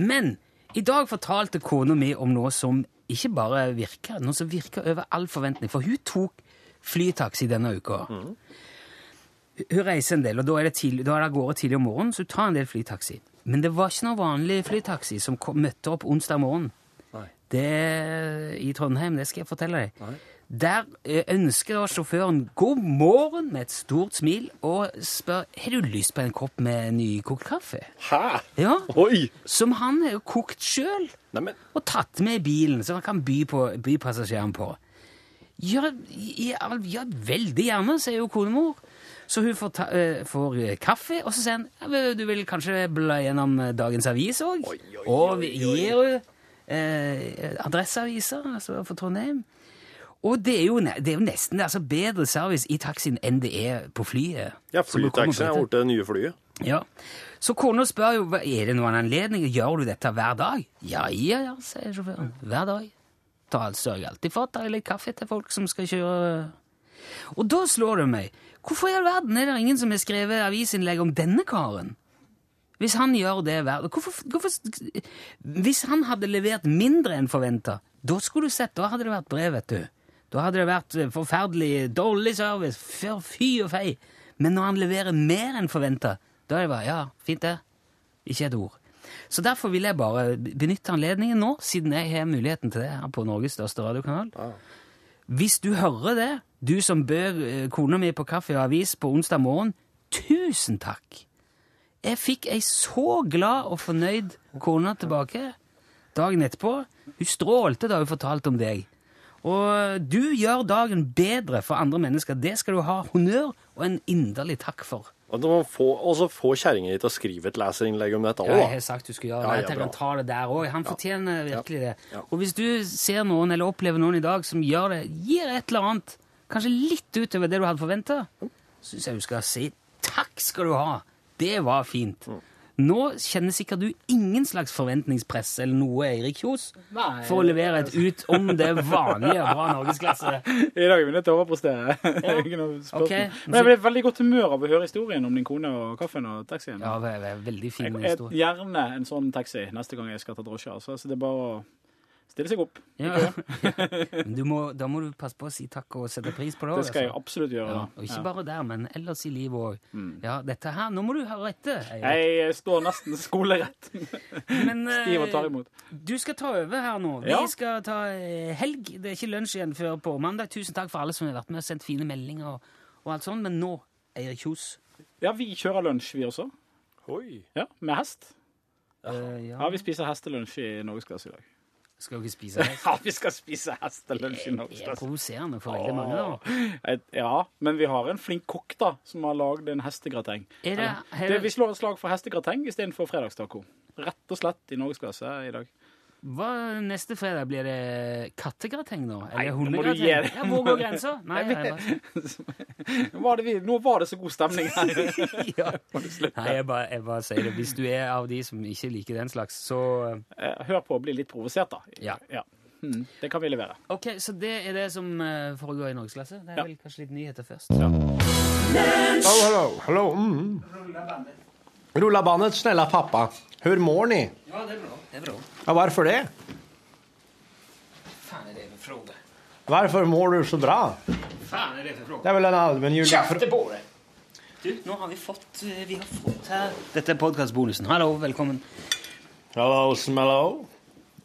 J: Men i dag fortalte kona mi om noe som ikke bare virker, noe som virker over all forventning. For hun tok flytaxi denne uka. Hun- Hun reiser en del, og da er det, tidlig, da er det av gårde tidlig om morgenen, så hun tar en del flytaxi. Men det var ikke noe vanlig flytaxi som kom, møtte opp onsdag morgen.
K: Nei.
J: Det, I Trondheim, det skal jeg fortelle deg. Der eh, ønsker da sjåføren god morgen med et stort smil og spør har du lyst på en kopp med nykokt kaffe.
K: Hæ?
J: Ja.
K: Oi!
J: Som han har jo kokt sjøl og tatt med i bilen, så han kan by, på, by passasjeren på. Ja, ja, ja, veldig gjerne, sier jo konemor. Så hun får, ta, eh, får eh, kaffe, og så sier han ja, men du vil kanskje bla gjennom eh, dagens avis òg? Og vi gir hun eh, adresseaviser altså for Trondheim. Og det er jo, ne- det er jo nesten altså, bedre service i taxien enn det er på flyet.
K: Ja,
J: Som du kommer
K: flytaxien er
J: på dette.
K: blitt det nye flyet.
J: Ja. Så kona spør jo hva- er det noen anledning, gjør du dette hver dag. Ja, ja, ja, sier sjåføren. Hver dag. Da sørger jeg alltid for at det er litt kaffe til folk som skal kjøre. Og da slår det meg. Hvorfor i all verden er det ingen som har skrevet avisinnlegg om denne karen? Hvis han gjør det hver hvorfor, hvorfor, Hvis han hadde levert mindre enn forventa, da skulle du sett, da hadde det vært brev, vet du. Da hadde det vært eh, forferdelig dårlig service, fyr- fy og fei. Men når han leverer mer enn forventa, da er det bare ja, fint det. Ikke et ord. Så derfor vil jeg bare benytte anledningen nå, siden jeg har muligheten til det her på Norges største radiokanal. Hvis du hører det, du som bød eh, kona mi på kaffe og avis på onsdag morgen, tusen takk! Jeg fikk ei så glad og fornøyd kone tilbake dagen etterpå. Hun strålte da hun fortalte om deg. Og du gjør dagen bedre for andre mennesker. Det skal du ha honnør og en inderlig takk for.
K: Og du må få, og så få kjerringa di til å skrive et leserinnlegg om dette
J: Ja, jeg
K: òg,
J: har
K: da.
J: sagt du skulle gjøre
K: Ja,
J: det.
K: ja,
J: Jeg
K: bra.
J: kan ta det der òg. Han fortjener virkelig det. Og hvis du ser noen eller opplever noen i dag som gjør det, gir et eller annet, kanskje litt utover det du hadde forventa, syns jeg du skal si takk skal du ha. Det var fint.
K: Mm.
J: Nå kjenner sikkert du ingen slags forventningspress eller noe, Eirik Kjos,
L: Nei.
J: for å levere et ut om det vanlige bra norgesklasse.
L: I dag vil jeg til å overprestere. Det er ikke noe spørsmål.
J: Ok.
L: Men jeg ble i veldig godt humør av å høre historien om din kone og kaffen og taxien.
J: Ja, det er en veldig fin
L: jeg,
J: historie.
L: gjerne en sånn taxi neste gang jeg skal ta drosje. Altså. Så det er bare å stille seg opp.
J: Ja. Men du må, da må du passe på å si takk og sette pris på det.
L: Det skal jeg
J: altså.
L: absolutt gjøre,
J: Ja,
L: da.
J: og ikke
L: Ja. Mm.
J: bare der, men ellers i livet òg. Ja, dette her Nå må du høre etter. Eirik.
L: Jeg står nesten skolerett.
J: Men, eh,
L: Skriv og tar imot.
J: Du skal ta over her nå. Vi
L: Ja.
J: skal ta eh, helg. Det er ikke lunsj igjen før på mandag. Tusen takk for alle som har vært med og sendt fine meldinger og, og alt sånt. Men nå, Eirik Kjos
L: Ja, vi kjører lunsj, vi også.
K: Oi.
L: Ja, Med hest.
J: Eh, ja.
L: vi spiser hestelunsj i norgesklasse i dag.
J: Skal dere spise hest?
L: ja, vi skal spise hestelunsj i
J: Det er
L: norgesklasse.
J: provoserende for veldig mange, da.
L: Et- Ja, men vi har en flink kokk da, som har lagd en hestegrateng.
J: Er det-
L: Eller,
J: er det-
L: vi slår et slag for hestegrateng istedenfor fredagstaco. Rett og slett i norgesklasse i dag.
J: Hva, neste fredag blir det kattegrateng, da?
L: Nei,
J: Eller
L: nå må du gi
J: hundegrateng?
L: deg.
J: Ja, hvor går grensa? Nei,
L: Jeg
J: nei,
L: vet- Nå var det vi, nå var det så god stemning her.
J: Nei, jeg bare, jeg bare sier det. Hvis du er av de som ikke liker den slags, så eh,
L: Hør på å bli litt provosert, da.
J: Ja.
L: Mm, det kan vi levere.
J: Ok, så det er det som eh, foregår i norgesklasse. Det er vel kanskje litt nyheter først.
C: Hallo, hallo, hallo. Mm. Rulla bandet, snälla pappa. Hur mår ni?
J: Ja, det er bra. Det er bra.
C: Ja, varför det?
J: Faen er det for fråga?
C: Varför mår du så bra?
J: Faen er det for fråga?
C: Det är väl en allmängiltig
J: Kjefte på det! Du, nå har vi fått eh, Vi har fått her Dette er podkastbonusen. Hallo, velkommen.
C: Hello, smello.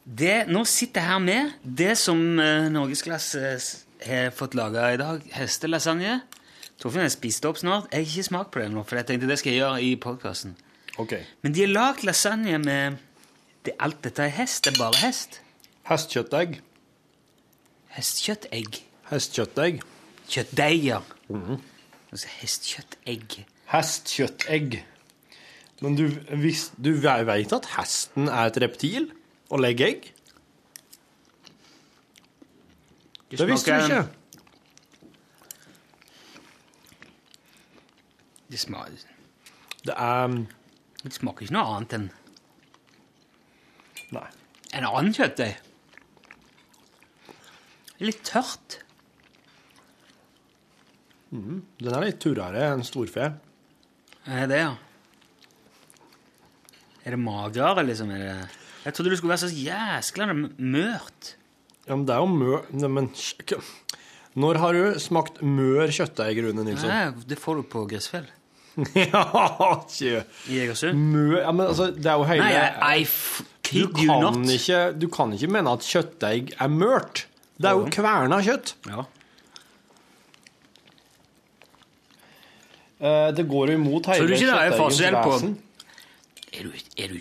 J: Det, nå sitter jeg her med det som eh, norgesklasse s- har fått laga i dag. Hestelasagne. Torfinn har spist det opp snart. Jeg har ikke smakt på det nå, for jeg tenkte det skal jeg gjøre i podkasten.
C: Okej.
J: Men de har lagd lasagne med det, Alt dette er hest. Det er bare hest.
C: Hästköttägg.
J: Hestkjøttegg.
C: Hästköttägg.
J: Köttdeig, ja.
C: Mhm.
J: Altså hestköttägg.
C: Hästköttägg. Men du, visst, du vet at hesten er et reptil og legger egg? Det, visste du ikke.
J: smaker- Det smaker
C: Det er
J: Det smaker ikke noe annet enn
C: Nei.
J: en annen kjøttdeig.
M: Litt tørt.
C: Mm. Den er litt turere enn storfe.
J: Er Eh, det, ja? Er det magrere, liksom? Er det... Jeg trodde det skulle være så jæskla mørt.
C: Ja, men det er jo mør Nei, men sj- k- Når har du smakt mør kjøttdeig, Rune Nilsson?
J: Nei, det får du på Gressfjell.
C: ja, ikke
J: I Egersund?
C: Mør Ja, men altså, det er jo hele
J: Nei, I, I f
C: du,
J: kid you
C: kan
J: not.
C: ikke, du kan ikke mene at kjøttdeig er mørt. Det er jo kverna kjøtt.
J: Ja.
C: Eh, Det går jo imot hele
J: Tror du ikke det er
C: kjøttdeigens
J: forskjell på
C: vesen.
J: Er du, er du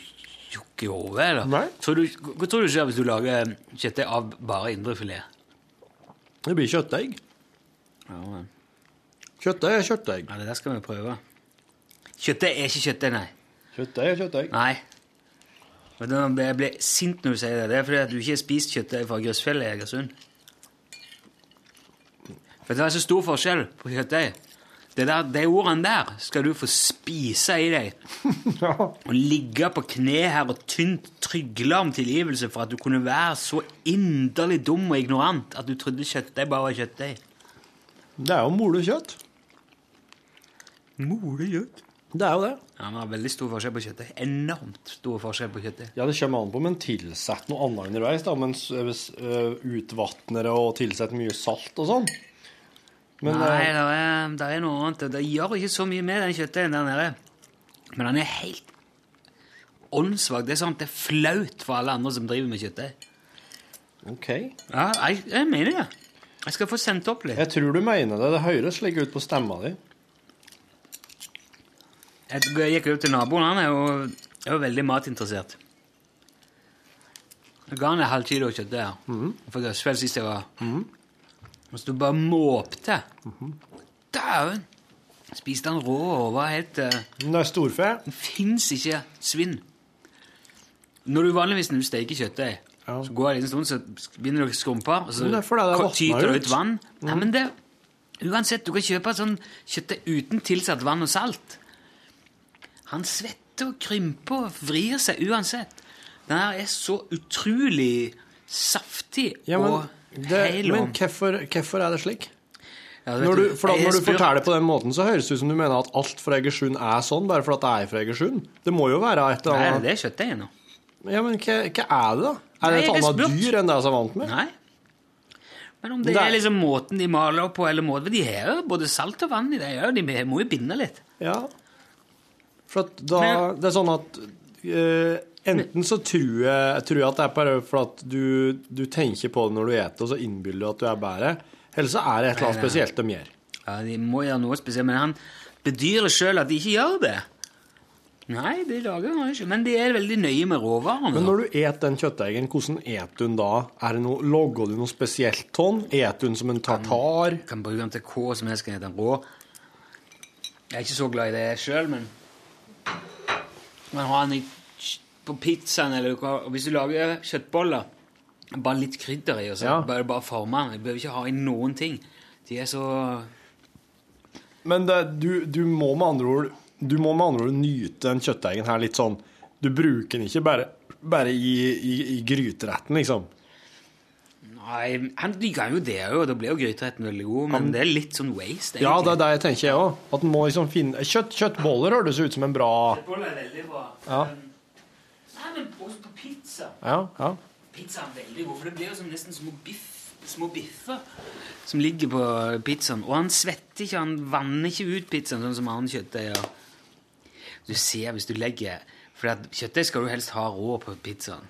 J: tjukk i hodet, eller? Tror du, hva tror du skjer hvis du lager kjøttdeig av bare indrefilet?
C: Det blir kjøttdeig.
J: Ja, men.
C: Kjøttdeig er kjøttdeig.
J: Ja, det der skal vi prøve. Kjøttdeig er ikke kjøttdeig, nei.
C: Kjøttdeig er kjøttdeig.
J: Nei. Vet du, hva, jeg blir sint når du sier det. Det er fordi at du ikke har spist kjøttdeig fra Grøsfjell i Egersund. For det er så stor forskjell på kjøttdeig. Det der, de ordene der skal du få spise i deg. Og ligge på kne her og tynt trygle om tilgivelse for at du kunne være så inderlig dum og ignorant at du trodde kjøttdeig bare var kjøttdeig.
C: Det er jo molekjøtt.
J: Molekjøtt?
C: Det er jo det.
J: Ja, men det er veldig stor forskjell på kjøttdeig. Enormt stor forskjell på kjøttdeig.
C: Ja, det kommer an på, men tilsett noe annet underveis, da. Men s- hvis, eh, utvatner det og tilsett mye salt og sånn. Men
J: Nei,
C: eh,
J: det er, der er noe annet. Det gjør ikke så mye med den kjøttdeigen der nede. Men den er helt åndssvak. Det er sånn at det er flaut for alle andre som driver med kjøttdeig.
C: OK.
J: Ja, jeg, jeg mener det. Jeg skal få sendt opp litt.
C: Jeg tror du mener det. Det høres slik ut på stemma di.
J: Jeg jeg gikk ut til naboen. Han er jo, er jo veldig matinteressert. Jeg ga han en halv kilo kjøttdeig her.
C: Mhm.
J: For det var svel sist jeg var Og så du bare måpte.
C: Mhm.
J: Dæven! Spiste han rå og var helt eh,
C: Det er storfe.
J: Det fins ikke svinn. Når du vanligvis når du steker kjøttdeig, så går det en stund, så begynner det å skrumpe, og så
C: Men det er fordi det
J: ko-
C: vatner
J: tyter
C: ut.
J: det
C: Mhm.
J: ut vann. Nei, men det, uansett, du kan kjøpe sånn kjøttdeig uten tilsatt vann og salt. Han svetter og krymper og vrir seg uansett. Den her er så utrolig saftig
C: Ja, men,
J: og
C: det,
J: hel.
C: men
J: og-
C: hvorfor, hvorfor er det slik?
J: Ja, vet
C: Når du, for at
J: jeg
C: når du
J: spør-
C: forteller på den måten, så høres det ut som du mener at alt fra Egersund er sånn, bare fordi det er fra Egersund. Det må jo være et eller
J: Nei,
C: annet
J: det er kjøttdeig nå.
C: Ja, men hva, hva er det, da? Er det
J: Nei,
C: et
J: det er
C: annet
J: sprøtt.
C: dyr enn det jeg er vant med?
J: Nei. Men om det,
C: Det er-
J: er liksom måten de maler på, eller måten De har jo både salt og vann i det. ja, De må jo binde litt.
C: Ja. For at da Det er sånn at eh, enten så tror jeg, jeg tror at det er bare for at du, du tenker på det når du eter, og så innbiller du at du er bedre. Eller så er det et eller annet
J: Nei, nei.
C: spesielt de gjør.
J: Ja, De må gjøre noe spesielt, men han bedyrer sjøl at de ikke gjør det. Nei, de lager jo ikke, men de er veldig nøye med råvarene.
C: Men når du et den kjøttdeigen, hvordan et du den da? Er det noe, Logger du noe spesielt tonn? Et du den som en tartar?
J: Kan bruke den til hva som helst, kan hete den rå. Jeg er ikke så glad i det sjøl, men Men har den i- på pizzaen eller hva- og Hvis du lager kjøttboller, bare litt krydder i, og så
C: Ja.
J: bare, bare forme den. Du behøver ikke ha i noen ting. De er så
C: Men det, du, du må med andre ord Du må med andre ord nyte den kjøttdeigen her litt sånn Du bruker den ikke bare, bare i, i, i gryteretten, liksom.
J: Nei, han, de kan jo det òg, og da blir jo gryteretten veldig god, men
C: Han-
J: det er litt sånn waste, egentlig.
C: Ja, det er det jeg tenker, jeg òg. At en må liksom finne Kjøtt, Kjøttboller høres ut som en bra
J: Kjøttboller er veldig bra.
C: Ja,
J: Nei, men også på pizza.
C: ja. ja.
J: Pizza er veldig god, for det blir jo som nesten små, biff, små biffer som ligger på pizzaen. Og han svetter ikke, han vanner ikke ut pizzaen sånn som annen kjøttdeig. gjør. Du ser hvis du legger For at kjøttdeig skal du helst ha rå på pizzaen.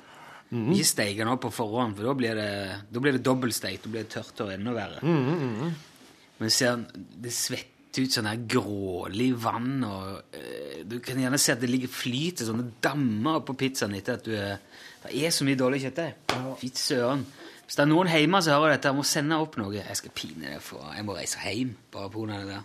C: Mhm.
J: Ikke steike den opp på forhånd, for da blir det, da blir det dobbeltsteikt. Da blir det tørt og enda verre. Men ser, han- det svetter ut sånn her grålig vann, og eh, du kan gjerne se at det ligger flyter sånne dammer på pizzaen etter at du er Det er så mye dårlig kjøttdeig. Fy søren. Hvis det er noen hjemme som hører dette, jeg må sende opp noe. Jeg skal pine deg for Jeg må reise hjem bare på grunn av det der.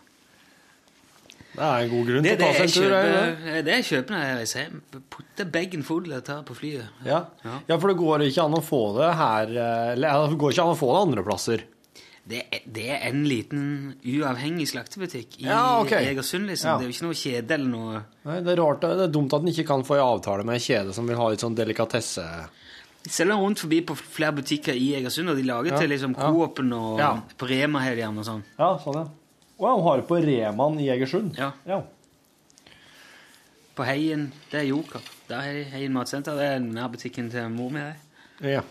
C: Det er en god grunn til
J: Det, det,
C: å ta
J: jeg,
C: seg en tur. er det?
J: kjøper, det jeg kjøper når jeg reiser hjem. Putte bagen full og tar på flyet.
C: Ja. ja, for det går ikke an å få det her eh, Eller ja, det går ikke an å få det andre plasser.
J: Det er, det er en liten uavhengig slaktebutikk i
C: Ja, ok.
J: Egersund, liksom.
C: Ja.
J: Det er jo ikke noe kjede eller noe
C: Nei, det er rart, det er dumt at en ikke kan få en avtale med en kjede som vil ha litt sånn delikatesse...
J: De selger rundt forbi på flere butikker i Egersund, og de lager
C: Ja,
J: til liksom
C: ja.
J: Coop-en og
C: Ja.
J: på Rema her igjen og sånn.
C: Ja, sånn, ja. Å ja, han har det på Reman i Egersund?
J: Ja.
C: ja.
J: På Heien, det er Joker. Der er Heien matsenter, det er nærbutikken til mor mi. det.
C: Ja.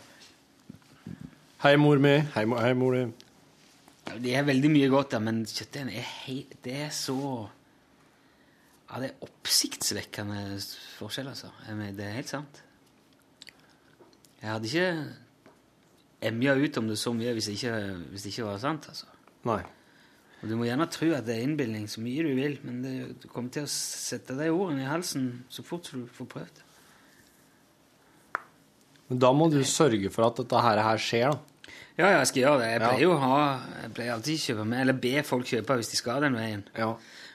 C: Hei, mor mi. Hei, mo- hei mor di.
J: Ja, Det er veldig mye godt der, men kjøttdeigen er helt Det er så Ja, det er oppsiktsvekkende forskjell, altså. Jeg mener, Det er helt sant. Jeg hadde ikke emja ut om det så mye hvis det ikke, hvis det ikke var sant, altså.
C: Nei.
J: Og Du må gjerne tro at det er innbilning så mye du vil, men det, du kommer til å sette de ordene i halsen så fort du får prøvd det.
C: Men da må du sørge for at dette her, her skjer, da.
J: Ja, ja, jeg skal gjøre det. Jeg
C: Ja.
J: pleier jo å ha Jeg pleier alltid å kjøpe med, eller be folk kjøpe hvis de skal den veien.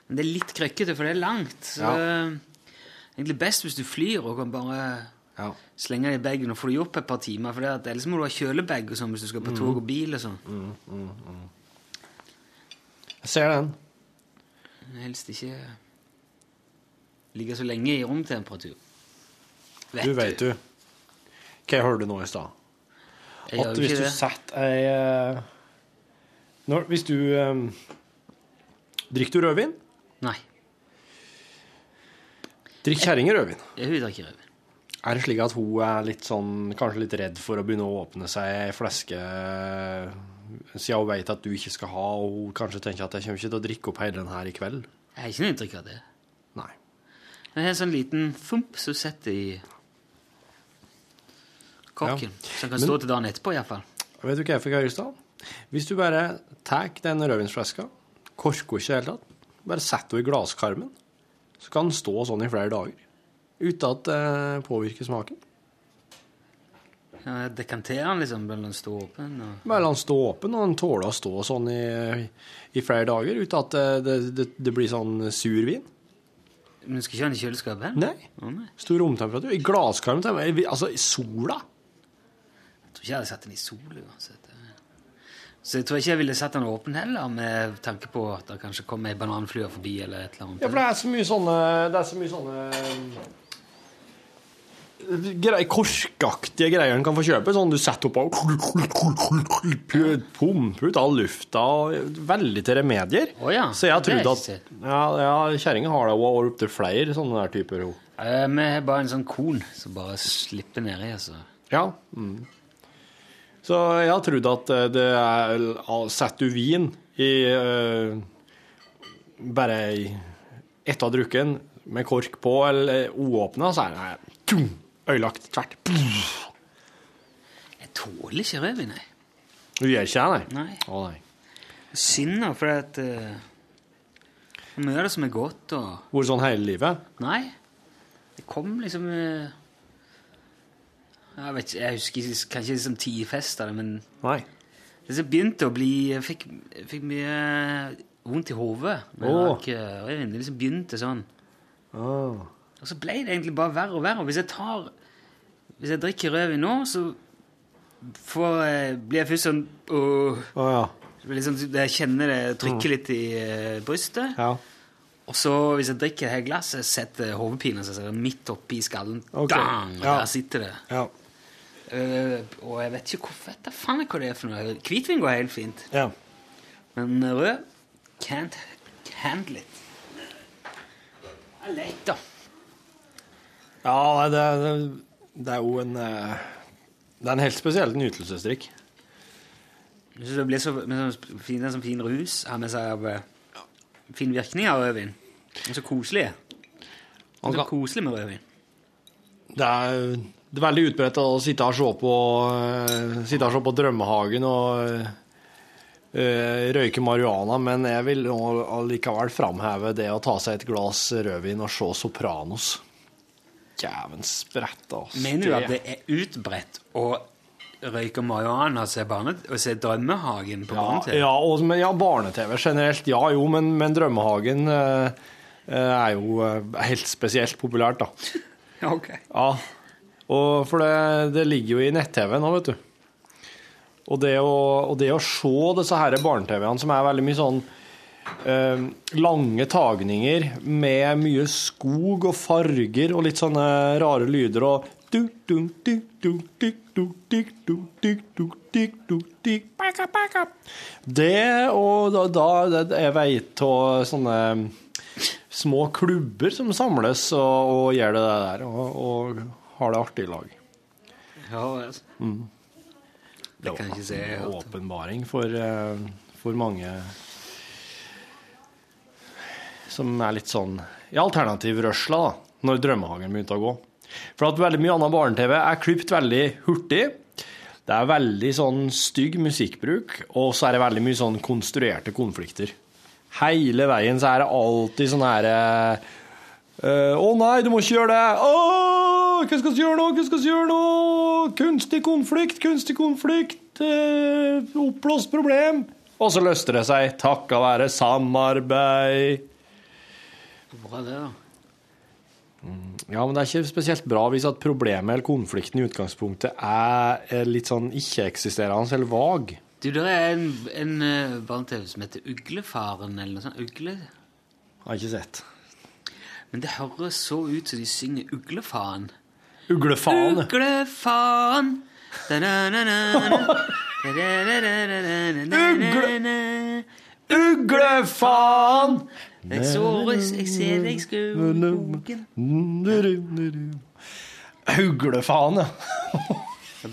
J: Men det er litt krøkkete, for det er langt. Så
C: Ja.
J: det er egentlig best hvis du flyr og kan bare slenge det i bagen og få det opp et par timer. For det at, ellers må du ha kjølebag og sånn hvis du skal på
C: Mhm.
J: tog og bil og sånn.
C: Jeg ser den.
J: Helst ikke ligge så lenge i romtemperatur.
C: Du vet du. Hva jeg hørte nå i stad?
J: Jeg gjør
C: At
J: jo
C: hvis
J: ikke
C: du
J: det.
C: setter ei eh, når, Hvis du eh, Drikker du rødvin?
J: Nei.
C: Drikk kjerringa rødvin.
J: Jeg hun drikker rødvin.
C: Er det slik at hun er litt sånn, kanskje litt redd for å begynne å åpne seg ei flaske siden hun vet at du ikke skal ha, og hun kanskje tenker at jeg kommer ikke til å drikke opp hele den her i kveld?
J: Jeg har ikke noe inntrykk av det.
C: Nei.
J: Men jeg har en sånn liten fump som setter i korken. Som kan
C: Men-
J: stå til dagen etterpå, iallfall.
C: Vet du hva jeg fikk høre i stad? Hvis du bare tar den rødvinsflaska, korker ikke i det hele tatt, bare setter henne i glasskarmen, så kan den stå sånn i flere dager uten at det påvirker smaken.
J: Ja, jeg dekanterer den liksom, la den stå åpen. Og...
C: Bare la den stå åpen, og den tåler å stå sånn i, i flere dager uten at det, det, det, det blir sånn sur vin.
J: Men du skal ikke ha den i kjøleskapet?
C: Nei.
J: Å, nei.
C: Stor romtemperatur. I glasskarmen til meg. Vi- Altså, i sola.
J: Jeg tror ikke jeg hadde satt den i sola uansett. Så jeg tror ikke jeg ville satt den åpen heller, med tanke på at det kanskje kom ei bananflue forbi eller et eller annet.
C: Ja, for det er så mye sånne eh, Det er så mye sånne grei, Korkaktige greier en kan få kjøpe. Sånn du setter opp og pumper ut all lufta. og Veldig til remedier.
J: ja.
C: Så jeg har
J: Det har
C: trodd
J: jeg
C: at Ja, ja kjerringa har det, og har opptil flere sånne der typer. hun.
J: Eh, Vi har bare en sånn kon som bare slipper nedi, altså.
C: Ja. Mm. Så jeg har trodd at eh, det er al- Setter du vin i eh, Bare i etter å ha drukket den, med kork på eller uåpna, så er det tung, øyelagt tvert. Puff.
J: Jeg tåler ikke rødvin, jeg.
C: Du gjør ikke det, nei?
J: Nei.
C: Å, nei.
J: Synd, da, for at eh, det er Mye av det som er godt, og
C: Vært sånn hele livet?
J: Nei. Det kom liksom eh, Jeg vet ikke, jeg husker ikke- kanskje liksom ti fester, men
C: Nei.
J: det som begynte å bli Jeg fikk, jeg fikk mye vondt i hodet. når jeg
C: Åh.
J: drakk, eh, rødvin. Det liksom begynte sånn. Og så ble det egentlig bare verre og verre. Og hvis jeg tar Hvis jeg drikker rødvin nå, så får, jeg- blir jeg først sånn åh. Det blir Liksom, jeg kjenner det trykker litt i eh, brystet.
C: Mm. Ja.
J: Og så hvis jeg drikker hele glasset, setter hodepinen seg midt oppi skallen.
C: Ok.
J: Dang! Og
C: Ja.
J: Der sitter det. Eh, og jeg vet ikke hvorfor. Vet da faen hva det er for noe. Hvitvin går helt fint. Men rød can't handle it. Det er leit, da.
C: Ja, nei, det, det, det er jo en eh, Det er en helt spesiell nytelsesdrikk.
J: Jeg synes det blir så, med sånn fin, det er sånn fin rus har med seg av eh, fin virkning av rødvin. Det er så koselig. Det er så koselig med rødvin.
C: Det er, det er veldig utbredt å sitte og se på, eh, sitte og se på Drømmehagen og eh, røyke marihuana, men jeg vil nå allikevel framheve det å ta seg et glass rødvin og se Sopranos. Djæven sprette, altså.
J: Mener du at det er utbredt å røyke marihuana og se, barne, og se Drømmehagen på barne-TV?
C: Ja, og, men, ja barne-TV generelt. Ja jo, men, men Drømmehagen eh, eh, er jo eh, helt spesielt populært, da.
J: Ok.
C: Ja. Og for det, det ligger jo i nett-TV nå, vet du. Og det å, og det å se disse her barne-TV-ene som er veldig mye sånn eh, lange tagninger med mye skog og farger og litt sånne rare lyder og Du, du, du, du, du, du, du, du, du, du, du, du, du. Baka, baka. Det og da, da det er vei av sånne små klubber som samles og, og gjør det der, og, og har det artig i lag.
J: Ja, altså.
C: Mm.
J: Det kan jeg ikke si.
C: En Åpenbaring for, eh, for mange som er litt sånn i alternativrørsla, da, når drømmehagen begynte å gå. For at veldig mye annet barne-TV er klippet veldig hurtig. Det er veldig sånn stygg musikkbruk, og så er det veldig mye sånn konstruerte konflikter. Hele veien så er det alltid sånn her eh, eh, Å nei, du må ikke gjøre det! Å, hva skal vi gjøre nå? Hva skal vi gjøre nå? Kunstig konflikt, kunstig konflikt. Eh, oppblåst problem. Og så løste det seg takka være samarbeid.
J: Bra det, da.
C: Ja, men det er ikke spesielt bra hvis at problemet eller konflikten i utgangspunktet er eh, litt sånn ikke-eksisterende eller vag.
J: Du, det er en, en eh, barne-TV som heter Uglefaren, eller noe sånt. Ugle...
C: Har ikke sett.
J: Men det høres så ut som de synger Uglefaren.
C: Uglefaen.
J: Uglefaren! Ugle...
C: Uglefaen!
J: Jeg så jeg ser deg skru boken.
C: Uglefaen, ja.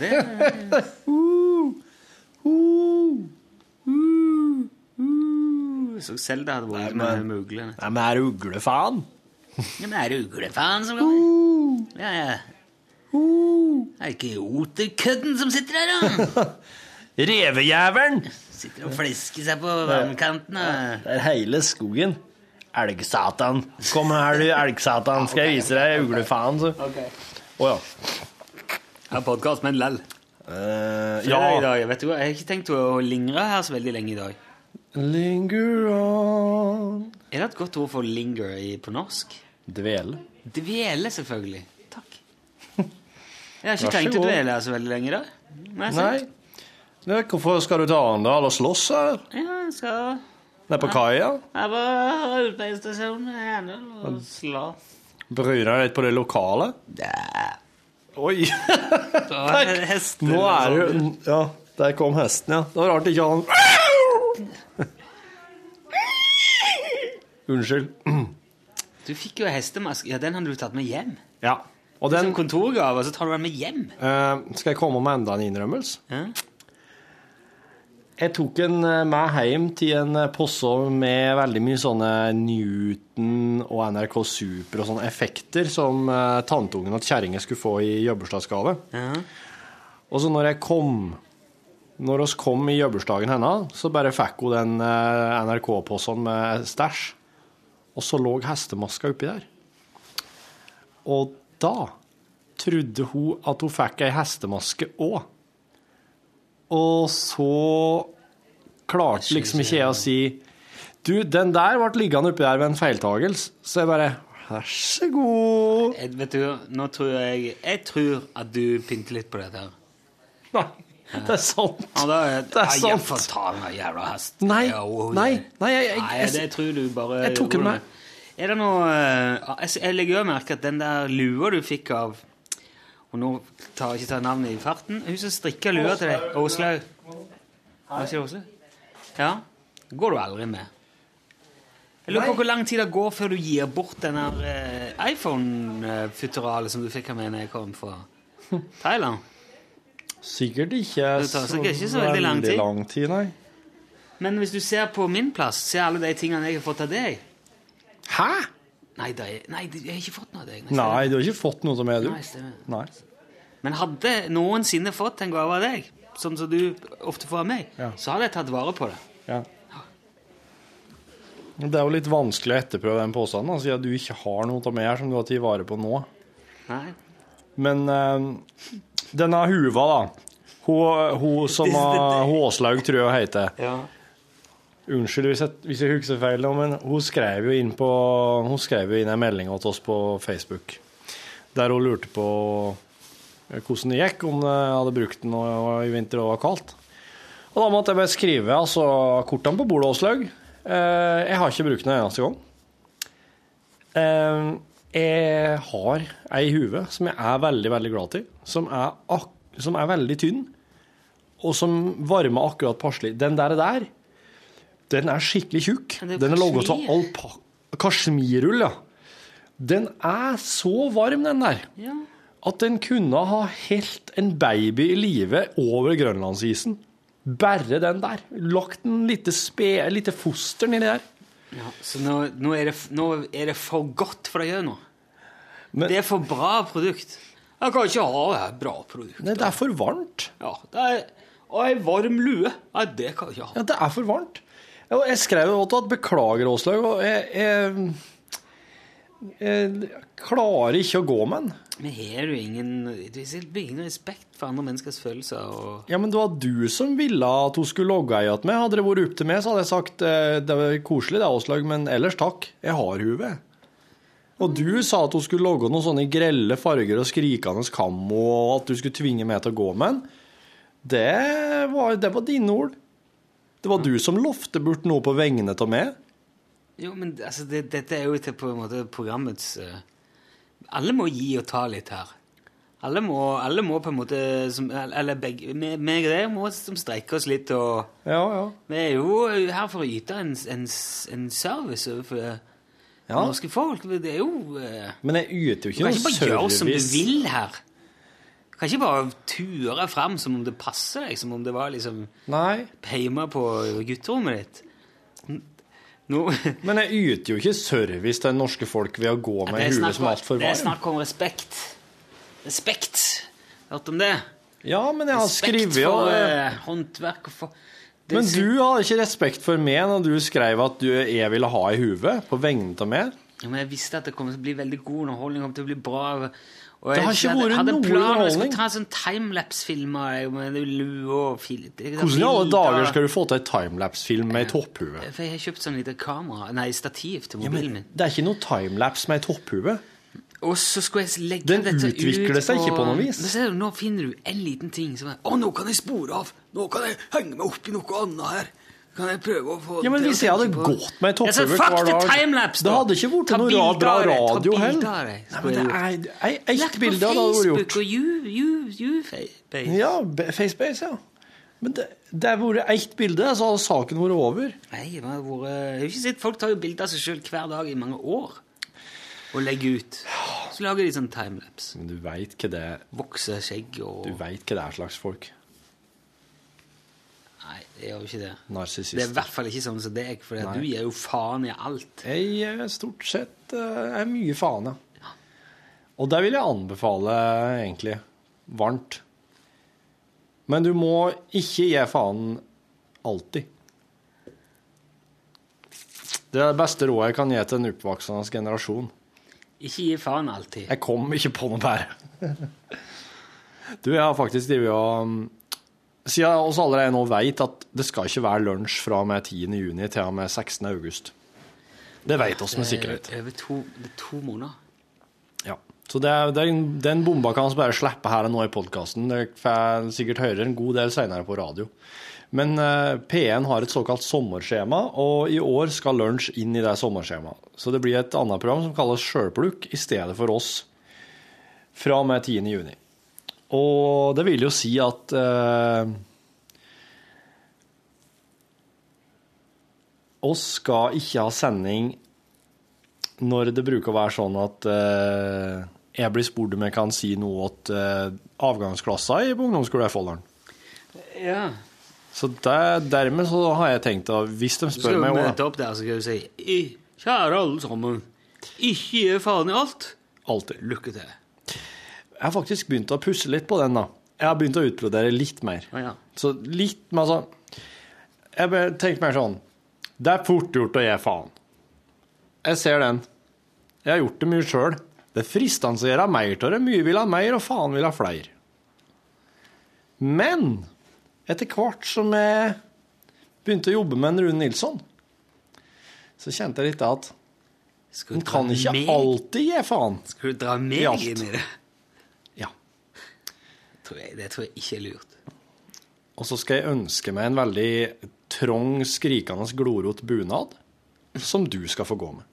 J: Så Selda hadde vært
C: Nei,
J: med
C: men-
J: med uglene.
C: Nei, men er det uglefaen?
J: Ja, men er det uglefaren som kommer? Ja, ja. Er det ikke oterkødden som sitter der, da?
C: Revejævelen!
J: Sitter og flesker seg på vannkanten. og-
C: Det er hele skogen. Elgsatan. Kom her, du elgsatan. Skal jeg vise deg uglefaen, så. Å ja.
J: Jeg har podkast, men lell.
C: Eh, ja.
J: I dag, jeg, vet du, hva, jeg har ikke tenkt å lingre her så veldig lenge i dag.
C: Linger on
J: Er det et godt ord for linger i, på norsk?
C: Dvele.
J: Dvele, selvfølgelig. Takk. Jeg har
C: Vær
J: ikke
C: så
J: tenkt å
C: god.
J: dvele her så veldig lenge i dag. Men jeg
C: Nei. Nei, Hvorfor skal du til Arendal og slåss her?
J: Ja, jeg skal
C: Nede på kaia?
J: Jeg var arbeidstasjon i Arendal og slapp.
C: Bryr deg litt på det lokale? Oi!
J: Hester
C: Nå
J: og
C: er
J: sånn.
C: du Ja, der kom hesten, ja. Det var rart ikke han Unnskyld.
J: Du fikk jo en hestemaske. Ja, den hadde du tatt med hjem.
C: Ja. Og den
J: Som kontorgave, så tar du den med hjem.
C: Eh, skal jeg komme med enda en innrømmelse? Jeg tok en eh, med hjem til en eh, posse med veldig mye sånne Newton og NRK Super og sånne effekter som eh, tanteungen og kjerringa skulle få i jobbursdagsgave. Og så når jeg kom Når oss kom i jobbursdagen hennes, så bare fikk hun den eh, NRK-posen med stæsj. Og så lå hestemaska oppi der. Og da trodde hun at hun fikk ei hestemaske òg. Og så klarte liksom ikke jeg å si Du, den der ble liggende oppi der ved en feiltagelse. Så jeg bare Vær så god.
J: Jeg, vet du, nå tror jeg Jeg tror at du pynter litt på dette her.
C: Nei, det er sant.
J: Ja, da er,
C: Det er
J: Nei,
C: sant.
J: Jeg får ta den der jævla hesten.
C: Nei,
J: Ja, oh,
C: nei, nei, jeg, jeg,
J: Nei, det tror du bare
C: Jeg tok den
J: gjorde
C: med.
J: det. Er det noe eh, Jeg jeg legger jo merke at den der lua du fikk av Og nå tar jeg ikke ta navnet i farten. Hun som strikka lua til deg. Åslaug. Hva sier du, Åslaug? Ja? Går du aldri med? Jeg lurer på hvor lang tid det går før du gir bort den der eh, iPhone-futuralet som du fikk av meg da jeg kom fra Thailand.
C: Sikkert ikke
J: Det tar sikkert ikke så veldig lang tid.
C: lang tid, nei.
J: Men hvis du ser på min plass, ser alle de tingene jeg har fått av deg.
C: Hæ?
J: Nei, det er, nei, det- jeg har ikke fått noe av deg. nei,
C: Nei, du har ikke fått noe som er du.
J: Nei, stemmer.
C: Nei.
J: Men hadde noensinne fått en gave av deg, sånn som du ofte får av meg, så hadde jeg tatt vare på det.
C: Ja. Men Det er jo litt vanskelig å etterprøve den påstanden, da, siden du ikke har noe av meg her som du har tatt vare på nå.
J: Nei.
C: Men eh, denne huva, da. Hun, hun som har- hun Åslaug, tror jeg hun heter. Unnskyld hvis jeg, hvis jeg husker feil, nå, men hun skrev jo inn, på, hun skrev jo inn en melding til oss på Facebook der hun lurte på eh, hvordan det gikk, om jeg hadde brukt den og- i vinter og det var kaldt. Og da måtte jeg bare skrive altså, kortene på bordet, Åslaug. Eh, jeg har ikke brukt den en eneste gang. Eh, Jeg har ei i huet som jeg er veldig, veldig glad til, som er, ak som er veldig tynn, og som varmer akkurat passelig. Den der, der, den er skikkelig tjukk.
J: det er
C: Den er laget av
J: kasjmir.
C: alpa... Kasjmirrull, ja. Den er så varm, den der,
J: Ja.
C: at den kunne ha helt en baby i live over grønlandsisen. Bare den der. Lagt en lite, spe, lite foster nedi der.
J: Ja, så nå, nå, er det, f- nå er det for godt for deg nå. det er for bra produkt. Jeg kan ikke ha det her bra produkt.
C: Nei, det er for varmt.
J: Ja, det er, og ei varm lue. Nei, det kan jeg ikke ha.
C: Ja, det er for varmt. Ja, og Jeg skrev jo også at beklager, Åslaug. og Jeg, jeg, jeg klarer ikke å gå med den.
J: Men har du ingen Du blir ingen respekt for andre menneskers følelser og
C: Ja, men det var du som ville at hun skulle logge i at meg. Hadde det vært opp til meg, så hadde jeg sagt eh, det var koselig det, Åslaug, men ellers takk. Jeg har huet. Og du sa at hun skulle logge noen sånne grelle farger og skrikende kammo, og at du skulle tvinge meg til å gå med den. Det var, det var dine ord. Det var du som lovte bort noe på vegne av meg.
J: Jo, men altså, det, dette er jo til på en måte programmets eh, Alle må gi og ta litt her. Alle må, alle må på en måte som, Eller begge me- Meg og deg må som streike oss litt og
C: Ja, ja.
J: Vi er jo her for å yte en, en, en service overfor det
C: Ja.
J: norske folk. Det er jo eh,
C: Men jeg yter jo
J: Du
C: ikke
J: kan
C: noe
J: ikke bare gjøre som du
C: service.
J: vil her. Du kan ikke bare ture frem som om det passer deg, som om det var liksom
C: Nei.
J: hjemme på gutterommet ditt.
C: Men jeg yter jo ikke service til det norske folk ved å gå med
J: Det er
C: en hue
J: snakk
C: som
J: om-
C: er altfor
J: Det er
C: varm.
J: snakk om respekt. Respekt! Hørt om det?
C: Ja, men jeg har skrevet
J: Respekt
C: jo
J: for
C: det.
J: eh, håndverk og for det
C: Men
J: sy-
C: du hadde ikke respekt for meg når du skrev at du, jeg ville ha ei hue på vegne av meg.
J: Ja, Men jeg visste at det kom til å bli veldig god underholdning. kom til å bli bra. Og
C: Det
J: jeg
C: har ikke
J: hadde-
C: vært
J: hadde
C: noe
J: planer, Jeg
C: underholdning.
J: skulle ta en sånn timelapse-film av deg med lue og fil...
C: Hvordan i alle dager skal du få til ei timelapse-film med ei topphue?
J: For jeg har kjøpt sånn lite kamera, nei, stativ til
C: Ja,
J: mobilen
C: men
J: min.
C: det er ikke noe timelapse med ei topphue.
J: Og så skulle jeg legge
C: Den
J: dette ut
C: utvikler seg ikke på noe vis.
J: Men ser du, nå finner du en liten ting som er Å, nå kan jeg spore av! Nå kan jeg henge meg opp i noe annet her! Kan jeg prøve å få
C: Ja, men
J: det til å
C: Hvis jeg hadde
J: tenke på-
C: gått med ei
J: Ja, så
C: topphue
J: fuck
C: hver
J: the
C: dag
J: timelapse,
C: Det
J: da!
C: hadde ikke blitt
J: Ta
C: noe
J: bilder
C: ra-
J: av
C: bra
J: det, ta
C: radio
J: bilder av
C: heller.
J: det,
C: Nei,
J: skulle
C: men det
J: jeg
C: er
J: gjort.
C: ei- Ett
J: Lagt på
C: bilde hadde vært gjort.
J: Facebook og you, you, you, face.
C: Ja, be- Facebase, ja. Men det, det har vært ett bilde, så hadde saken vært over.
J: Nei, det har vært Jeg har ikke sett Folk tar jo bilder av seg sjøl hver dag i mange år og legger ut. Så lager de sånn timelapse.
C: Men du veit hva det
J: Vokser skjegg og
C: Du veit hva det er slags folk.
J: Nei, det gjør jo ikke det.
C: Narsissister.
J: Det er i hvert fall ikke sånn som deg, for
C: Nei.
J: du gir jo faen i alt.
C: Jeg er stort sett eh, er mye faen, ja. Og det vil jeg anbefale, egentlig. Varmt. Men du må ikke gi faen alltid. Det er det beste rådet jeg kan gi til en oppvoksende generasjon.
J: Ikke gi faen alltid.
C: Jeg kom ikke på noe bedre. Du, jeg har faktisk drevet og um, Siden oss allerede nå vet at det skal ikke være lunsj fra og med 10. juni til og med 16. august. Det vet oss med
J: Det er
C: sikkerhet.
J: Eh, Over to, det er to måneder.
C: Ja. Så det er, den, den bomba kan vi bare slippe her og nå i podkasten. Dere får sikkert høre en god del seinere på radio. Men eh, P1 har et såkalt sommerskjema, og i år skal lunsj inn i det sommerskjemaet. Så det blir et annet program som kalles Sjølplukk i stedet for oss fra og med 10. juni. Og det vil jo si at eh, oss skal ikke ha sending når det bruker å være sånn at eh, jeg blir spurt om jeg kan si noe til eh, avgangsklassa i på ungdomsskolen i Folldalen.
J: Ja.
C: Så det, dermed så har jeg tenkt at hvis de
J: Du skal
C: spør
J: jo
C: meg hva
J: møte opp der, så skal du si «I- Kjære alle sammen. Ikke gi faen i alt.
C: Alltid.
J: Lykke til.
C: Jeg har faktisk begynt å pusse litt på den, da. Jeg har begynt å utbrodere litt mer. Så litt men altså Jeg bare tenkte mer sånn Det er fort gjort å gi faen. Jeg ser den. Jeg har gjort det mye sjøl. Det er fristende å gjøre mer av det. Mye vil ha mer, og faen vil ha flere. Men etter hvert som jeg begynte å jobbe med en Rune Nilsson, så kjente jeg litt at
J: Skal
C: en kan ikke
J: meg-
C: alltid gi faen.
J: Skal du dra meg
C: I alt.
J: inn i det?
C: Ja.
J: Tror jeg, det tror jeg ikke er lurt.
C: Og så skal jeg ønske meg en veldig trang, skrikende, glorot bunad, som du skal få gå med.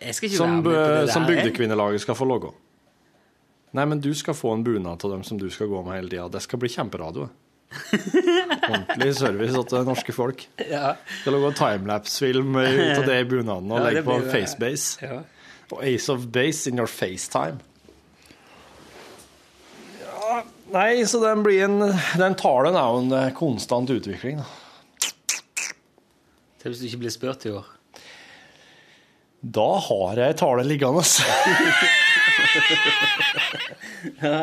J: Jeg skal ikke
C: Som,
J: være med på det
C: bu-
J: der. eh?
C: som
J: jeg.
C: Bygdekvinnelaget skal få logge. Nei, men du skal få en bunad av dem som du skal gå med hele tida. Det skal bli kjemperadio. Ordentlig service til det norske folk.
J: Ja.
C: Skal lage en timelapse-film ut av det i bunaden og
J: Ja,
C: legge
J: det
C: på
J: blir-
C: FaceBase.
J: Ja.
C: Og Ace of Base in your FaceTime. Ja, nei, så den blir en Den talen er jo en eh, konstant utvikling, da.
J: Til hvis du ikke blir spurt i år.
C: Da har jeg en tale liggende.
J: Ja.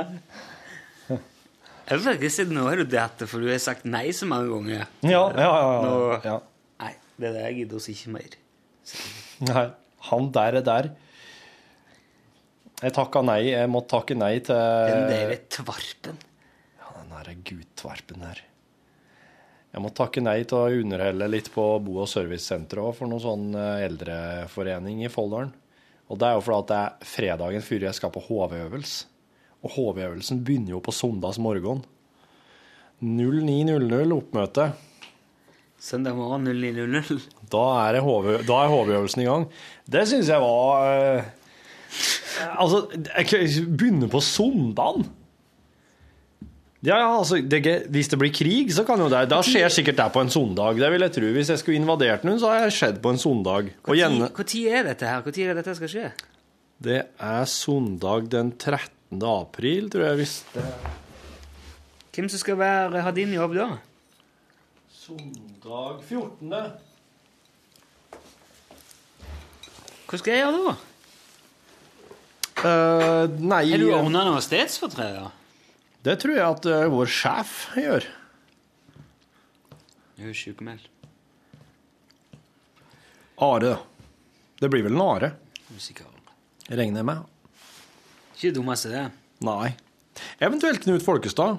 J: Jeg føler siden nå har du datt det, for du har sagt nei så mange ganger.
C: Ja, ja, ja, ja.
J: Nå- Nei, det der gidder oss ikke mer.
C: Nei, han der er der. Jeg takka nei. Jeg måtte takke nei til
J: Den
C: Eh.
J: der er tvarpen.
C: Ja, den derre gudtverpen der. Jeg måtte takke nei til å underholde litt på bo- og servicesenteret òg, for noen sånn eh, eldreforening i Folldalen. Og det er jo fordi at det er fredagen før jeg skal på HV-øvelse. Og HV-øvelsen begynner jo på søndags morgen. 09.00 oppmøte.
J: Søndag morgen 09.00.
C: Da er det HV da er HV-øvelsen i gang. Det syns jeg var eh, Altså, jeg kan ikke begynne på søndagen. Ja, ja, altså, det, er ikke- hvis det blir krig, så kan jo det Da skjer sikkert det på en søndag. Det vil jeg tro. Hvis jeg skulle invadert noen, så har jeg skjedd på en søndag. Og gjerne
J: Når er dette her? Når er det dette skal skje?
C: Det er søndag den 13. april, tror jeg, hvis det
J: Hvem som skal være, ha din jobb da?
C: Søndag 14.
J: Hva skal jeg gjøre da?
C: Eh, nei
J: Er du ordna noe stedsfortreder?
C: Det tror jeg at eh, vår sjef gjør.
J: Jeg er jo sjukmeldt.
C: Are. Det blir vel en are,
J: Musikalen.
C: regner jeg med.
J: Ikke det dummeste, det.
C: Nei. Eventuelt Knut Folkestad.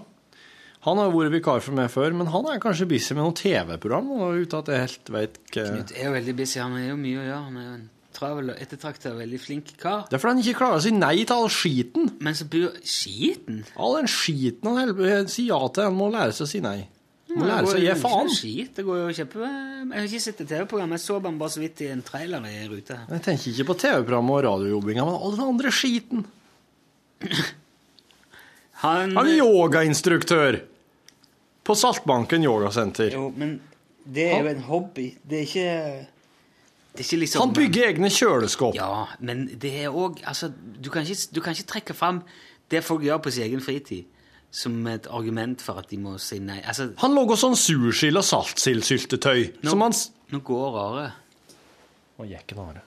C: Han har vært vikar for meg før, men han er kanskje busy med noe TV-program. og uten at jeg helt vet hva...
J: Knut er jo veldig busy. Han har jo mye å gjøre. Han er jo en travel og ettertrakta, veldig flink kar.
C: Det er fordi han ikke klarer å si nei til all skiten.
J: Men så bor Skiten?
C: All den skiten han hel- eh, sier ja til. Han må lære seg å si nei. Han må
J: Ja,
C: lære seg å
J: det går
C: gi
J: jo ikke
C: faen.
J: noe Skit. Det går jo kjempe... Jeg har ikke sett et TV-program. Jeg så han bare så vidt i en trailer i ruta.
C: Jeg tenker ikke på TV-programmet og radiojobbinga, men all den andre skiten.
J: Han,
C: er yogainstruktør på Saltbanken yogasenter.
J: Jo, men det er jo en hobby. Det er ikke Det er ikke liksom
C: Han bygger egne kjøleskap.
J: Ja, men det er òg Altså, du kan, ikke, du kan ikke trekke fram det folk gjør på sin egen fritid, som et argument for at de må si nei. Altså,
C: Han lager sånn sursild og saltsildssyltetøy.
J: nå,
C: Som han s-
J: nå går Are.
C: Å, jekken Are.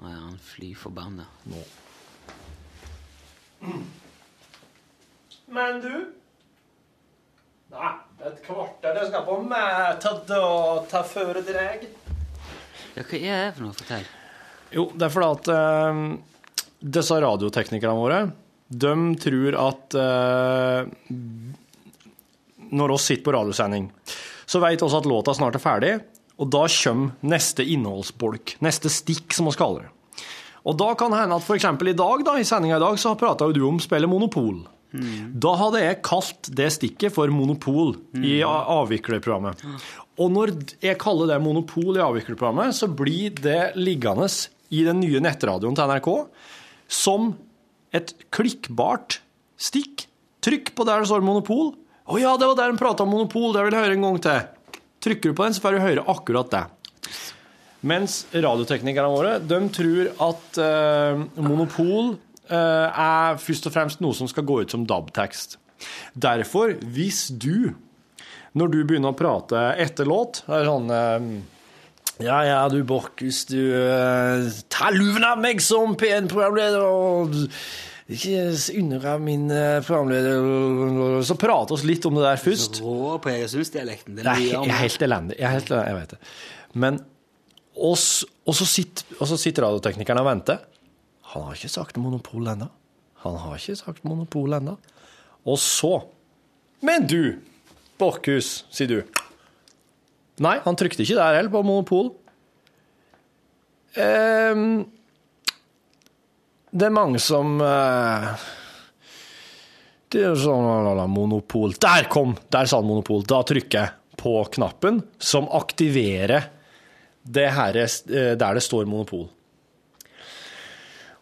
J: Nå er han fly forbanna.
C: Men du Nei, et kvarter jeg skal på med ta, da- ta føre dreg.
J: Ja, hva er det for noe? Fortell.
C: Jo, det er fordi at eh, disse radioteknikerne våre, de tror at eh, når oss sitter på radiosending, så vet oss at låta snart er ferdig, og da kommer neste innholdsbolk, neste stikk, som vi kaller det. Og da kan det hende at f.eks. i dag, da, i sendinga i dag, så prata jo du om spillet Monopol. Da hadde jeg kalt det stikket for monopol i a- avviklerprogrammet. Og når d- jeg kaller det monopol i avviklerprogrammet, så blir det liggende i den nye nettradioen til NRK som et klikkbart stikk. Trykk på der det står monopol. Å ja, det var der de prata om monopol, det vil jeg høre en gang til. Trykker du på den, så får du høre akkurat det. Mens radioteknikerne våre de tror at eh, monopol eh, er først og fremst noe som skal gå ut som DAB-tekst. Derfor, hvis du, når du begynner å prate etter låt det er sånn, eh, Ja, ja, du Borkhus, du eh, Ta luven av meg som P1-programleder! og Ikke undergrav min eh, programleder Så prate oss litt om det der først.
J: Rå på Egersundsdialekten. Det
C: Det er,
J: mye
C: he-
J: om-
C: jeg er helt elendig. Jeg er helt elendig, jeg vet det. Men Og s- og så sitter, og så sitter radioteknikeren og venter. Han har ikke sagt monopol ennå. Han har ikke sagt monopol ennå. Og så Men du, Borkhus, sier du. Nei, han trykte ikke der heller, på monopol. Ehm, det er mange som eh, det er jo sånn la, la, la, monopol. Der kom! Der sa han monopol. Da trykker jeg på knappen som aktiverer det her er, eh, der det står monopol.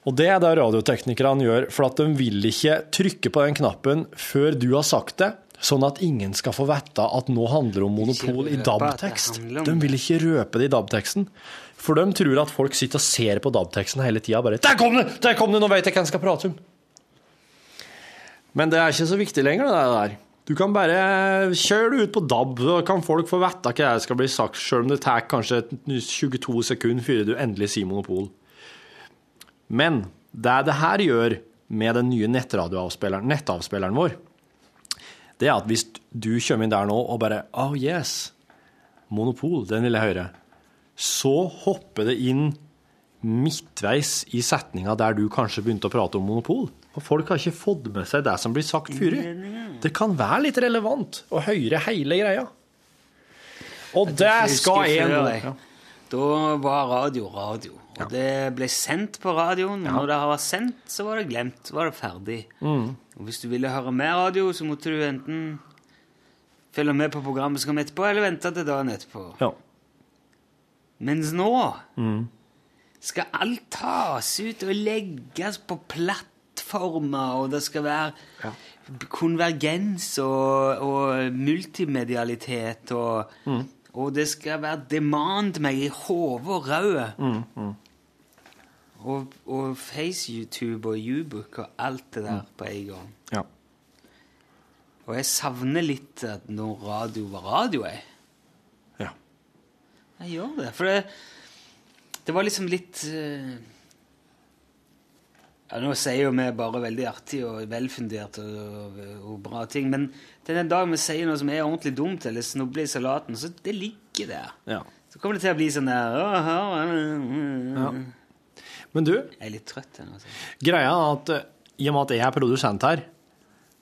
C: Og det er det radioteknikerne gjør, for at de vil ikke trykke på den knappen før du har sagt det, sånn at ingen skal få vite at nå handler det om monopol i
J: røpe at det
C: DAB-tekst.
J: handler om-
C: De vil ikke røpe det i DAB-teksten, for de tror at folk sitter og ser på DAB-teksten hele tida bare Der kom det! Der kom det! Nå vet jeg hvem jeg skal prate om! Men det er ikke så viktig lenger, det der. Du kan bare kjøre det ut på DAB, så kan folk få vite hva det skal bli sagt, selv om det tar kanskje 22 sekunder før du endelig sier monopol. Men det det her gjør med den nye nettradioavspilleren, nettavspilleren vår, det er at hvis du kommer inn der nå og bare Oh yes, monopol, den vil jeg høre. Så hopper det inn midtveis i setninga der du kanskje begynte å prate om monopol. Og folk har ikke fått med seg det som blir sagt før. Det kan være litt relevant å høre hele greia. Og det skal jeg nå. Ja.
J: Da var radio radio. Og det ble sendt på radioen. og Når det var sendt, så var det glemt. Så var det ferdig.
C: Mm.
J: Og hvis du ville høre mer radio, så måtte du enten følge med på programmet som kom etterpå, eller vente til dagen etterpå.
C: Ja.
J: Mens nå
C: Mm.
J: skal alt tas ut og legges på plattformer, og det skal være konvergens og, og multimedialitet, og,
C: Mm.
J: og det skal være demand meg i hodet og røde.
C: Mm, mm.
J: Og, og FaceYouTube og Ubook og alt det der på en gang.
C: Mm. Ja.
J: Og jeg savner litt at når radio var radio, jeg.
C: Ja.
J: Jeg gjør det. For det, det var liksom litt eh, ja, Nå sier jo vi bare veldig artig og velfundert og, og, og bra ting, men til den dagen vi sier noe som er ordentlig dumt eller snubler i salaten, så det ligger der.
C: Ja.
J: Så kommer det til å bli sånn der «Åh, åh, åh, åh».
C: Men du,
J: Jeg er litt trøtt ennå. altså.
C: greia er at eh, i og med at jeg er produsent her,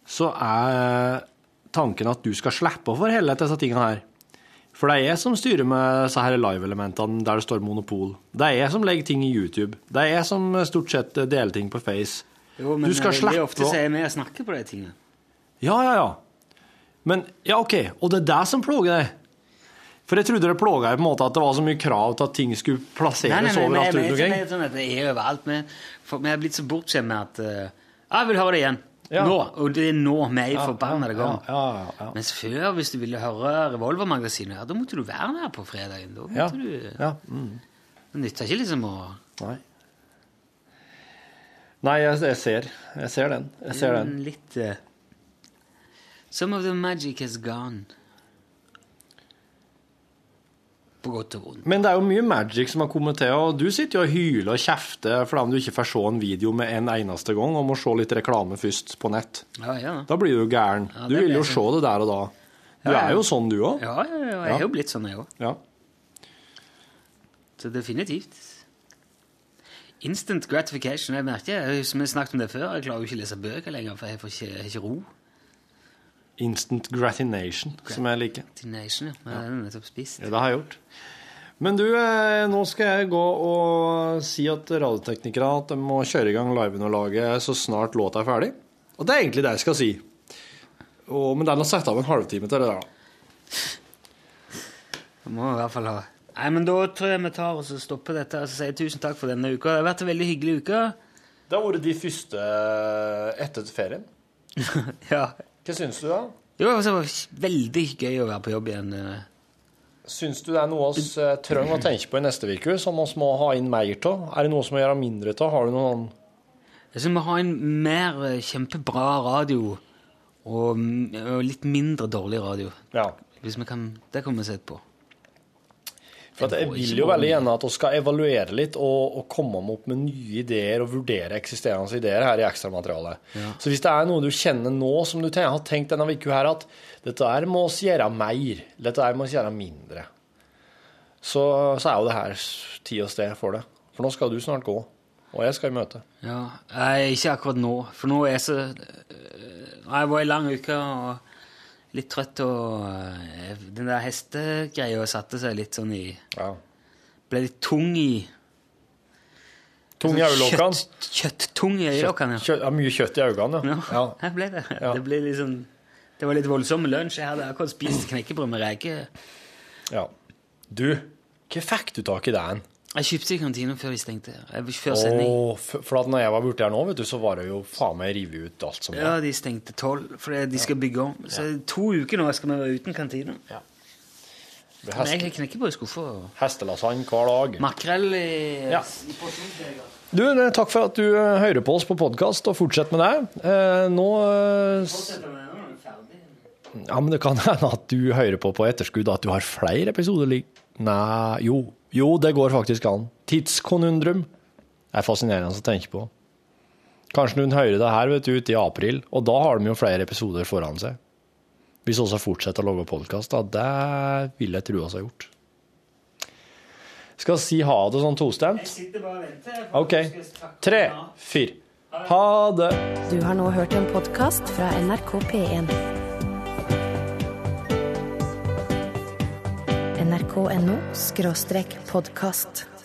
C: så er tanken at du skal slippe å forholde deg til disse tingene her. For det er jeg som styrer med disse her live-elementene der det står monopol. Det er jeg som legger ting i YouTube. Det er jeg som eh, stort sett eh, deler ting på Face.
J: Jo, men
C: Du skal
J: veldig
C: slappe
J: ofte
C: av.
J: så er vi og snakker på de tingene.
C: Ja, ja, ja. Men ja, OK. Og det er det som plager deg. For jeg trodde det plaga deg på en måte at det var så mye krav til at ting skulle plasseres overalt.
J: men- men-
C: rundt
J: men-
C: omkring.
J: men- sånn at det er overalt. Men for- vi har blitt så bortskjemt med at eh, «Ah, 'Jeg vil høre det igjen'.
C: Ja.
J: Nå. Og det er nå vi er i
C: Ja,
J: forbannede
C: ja,
J: gang.
C: ja, ja, ja.
J: Mens før, hvis du ville høre Revolvermagasinet, ja, da måtte du være med på fredagen. Da måtte
C: Ja,
J: du...
C: ja, mm.
J: Det nytter ikke liksom å
C: Nei. Nei, jeg, jeg ser. Jeg ser den. Jeg ser den.
J: Mm, Litt eh, Some of the magic has gone. På godt og vondt.
C: Men det er jo mye magic som har kommet til, og du sitter jo og hyler og kjefter fordi om du ikke får se en video med en eneste gang, og må se litt reklame først på nett.
J: Ja, ja.
C: Da blir du jo gæren.
J: Ja,
C: du
J: det
C: vil
J: blir
C: jo
J: jeg
C: se det der og da. Du
J: Ja, ja.
C: er jo sånn, du òg.
J: Ja, ja, ja. Jeg
C: Ja.
J: er jo blitt sånn, jeg òg.
C: Ja.
J: Så definitivt. Instant gratification. Jeg merker, jeg- som jeg snakket om det før, jeg klarer jo ikke å lese bøker lenger, for jeg får ikke, jeg har ikke ro.
C: Instant gratination, som jeg liker.
J: Til nation, ja. Men
C: Ja.
J: den er nettopp spist.
C: Ja, det har jeg gjort. Men du, eh, nå skal jeg gå og si at radioteknikere at de må kjøre i gang liven og laget så snart låta er ferdig. Og det er egentlig det jeg skal si. Og, men det er å sette av en halvtime til det der. da.
J: Det må i hvert fall ha. Nei, men da tror jeg vi tar og så stopper dette, og så sier jeg tusen takk for denne uka. Det har vært en veldig hyggelig uke.
C: Det har vært de første eh, etter ferien.
J: ja.
C: Hva syns du, da?
J: Jo, altså, det var veldig gøy å være på jobb igjen. eh.
C: Syns du det er noe vi eh, trenger å tenke på i neste uke, som vi må ha inn mer av? Er det noe som må gjøre mindre av? Har du noen
J: Jeg synes vi har en mer eh, kjempebra radio, og, m- og litt mindre dårlig radio.
C: Ja.
J: Hvis vi kan, det kan vi sette på.
C: For at jeg vil jo veldig gjerne at vi skal evaluere litt og, og komme opp med nye ideer og vurdere eksisterende ideer her i ekstramaterialet.
J: Ja.
C: Så hvis det er noe du kjenner nå som du ten- har tenkt denne uka her at dette her må oss gjøre mer, dette her må oss gjøre mindre, så, så er jo det her s- tid og sted for det. For nå skal du snart gå, og jeg skal i møte.
J: Ja, nei, ikke akkurat nå, for nå er jeg så øh, Nei, det var en lang uke og litt trøtt, og øh, den der hestegreia satte seg litt sånn i Ble litt tung i sånn
C: Tung i øyelokkene.
J: Kjøtt, kjøtttung i øyelokkene,
C: ja. Mye kjøtt i øynene, ja. ja.
J: Her ble det. Det ble litt sånn Det var litt voldsom lunsj. Jeg hadde akkurat spist knekkebrød med reker.
C: Ja. Du, Hva fikk du tak i den?
J: Jeg kjøpte i kantina før de stengte. Jeg- Før sending.
C: Åh, f- for at når jeg var borte her nå, vet du, så var det jo faen meg revet ut alt som var.
J: Ja, de stengte tolv, for de skal bygge om. Så to uker nå skal vi være uten kantina.
C: Det
J: Men
C: hest-
J: jeg knekker bare i skuffa.
C: Hestelasagne hver dag.
J: Makrell i
C: Ja. Du, eh, takk for at du eh, hører på oss på podkast, og fortsett med det. Eh, Nå eh, s- Ja, men det kan hende at du hører på på etterskudd at du har flere episoder lig... Nei, jo. Jo, det går faktisk an. Tidskonundrum er fascinerende å tenke på. Kanskje noen hører det her vet du, ute i april, og da har de jo flere episoder foran seg. Hvis også fortsetter å lage podkast, da. Det vil jeg tro oss har gjort. Skal si ha det sånn tostemt. OK. Tre, fire. Ha det.
A: Du har nå hørt en podkast fra NRK P1. NRK.no skråstrek podkast.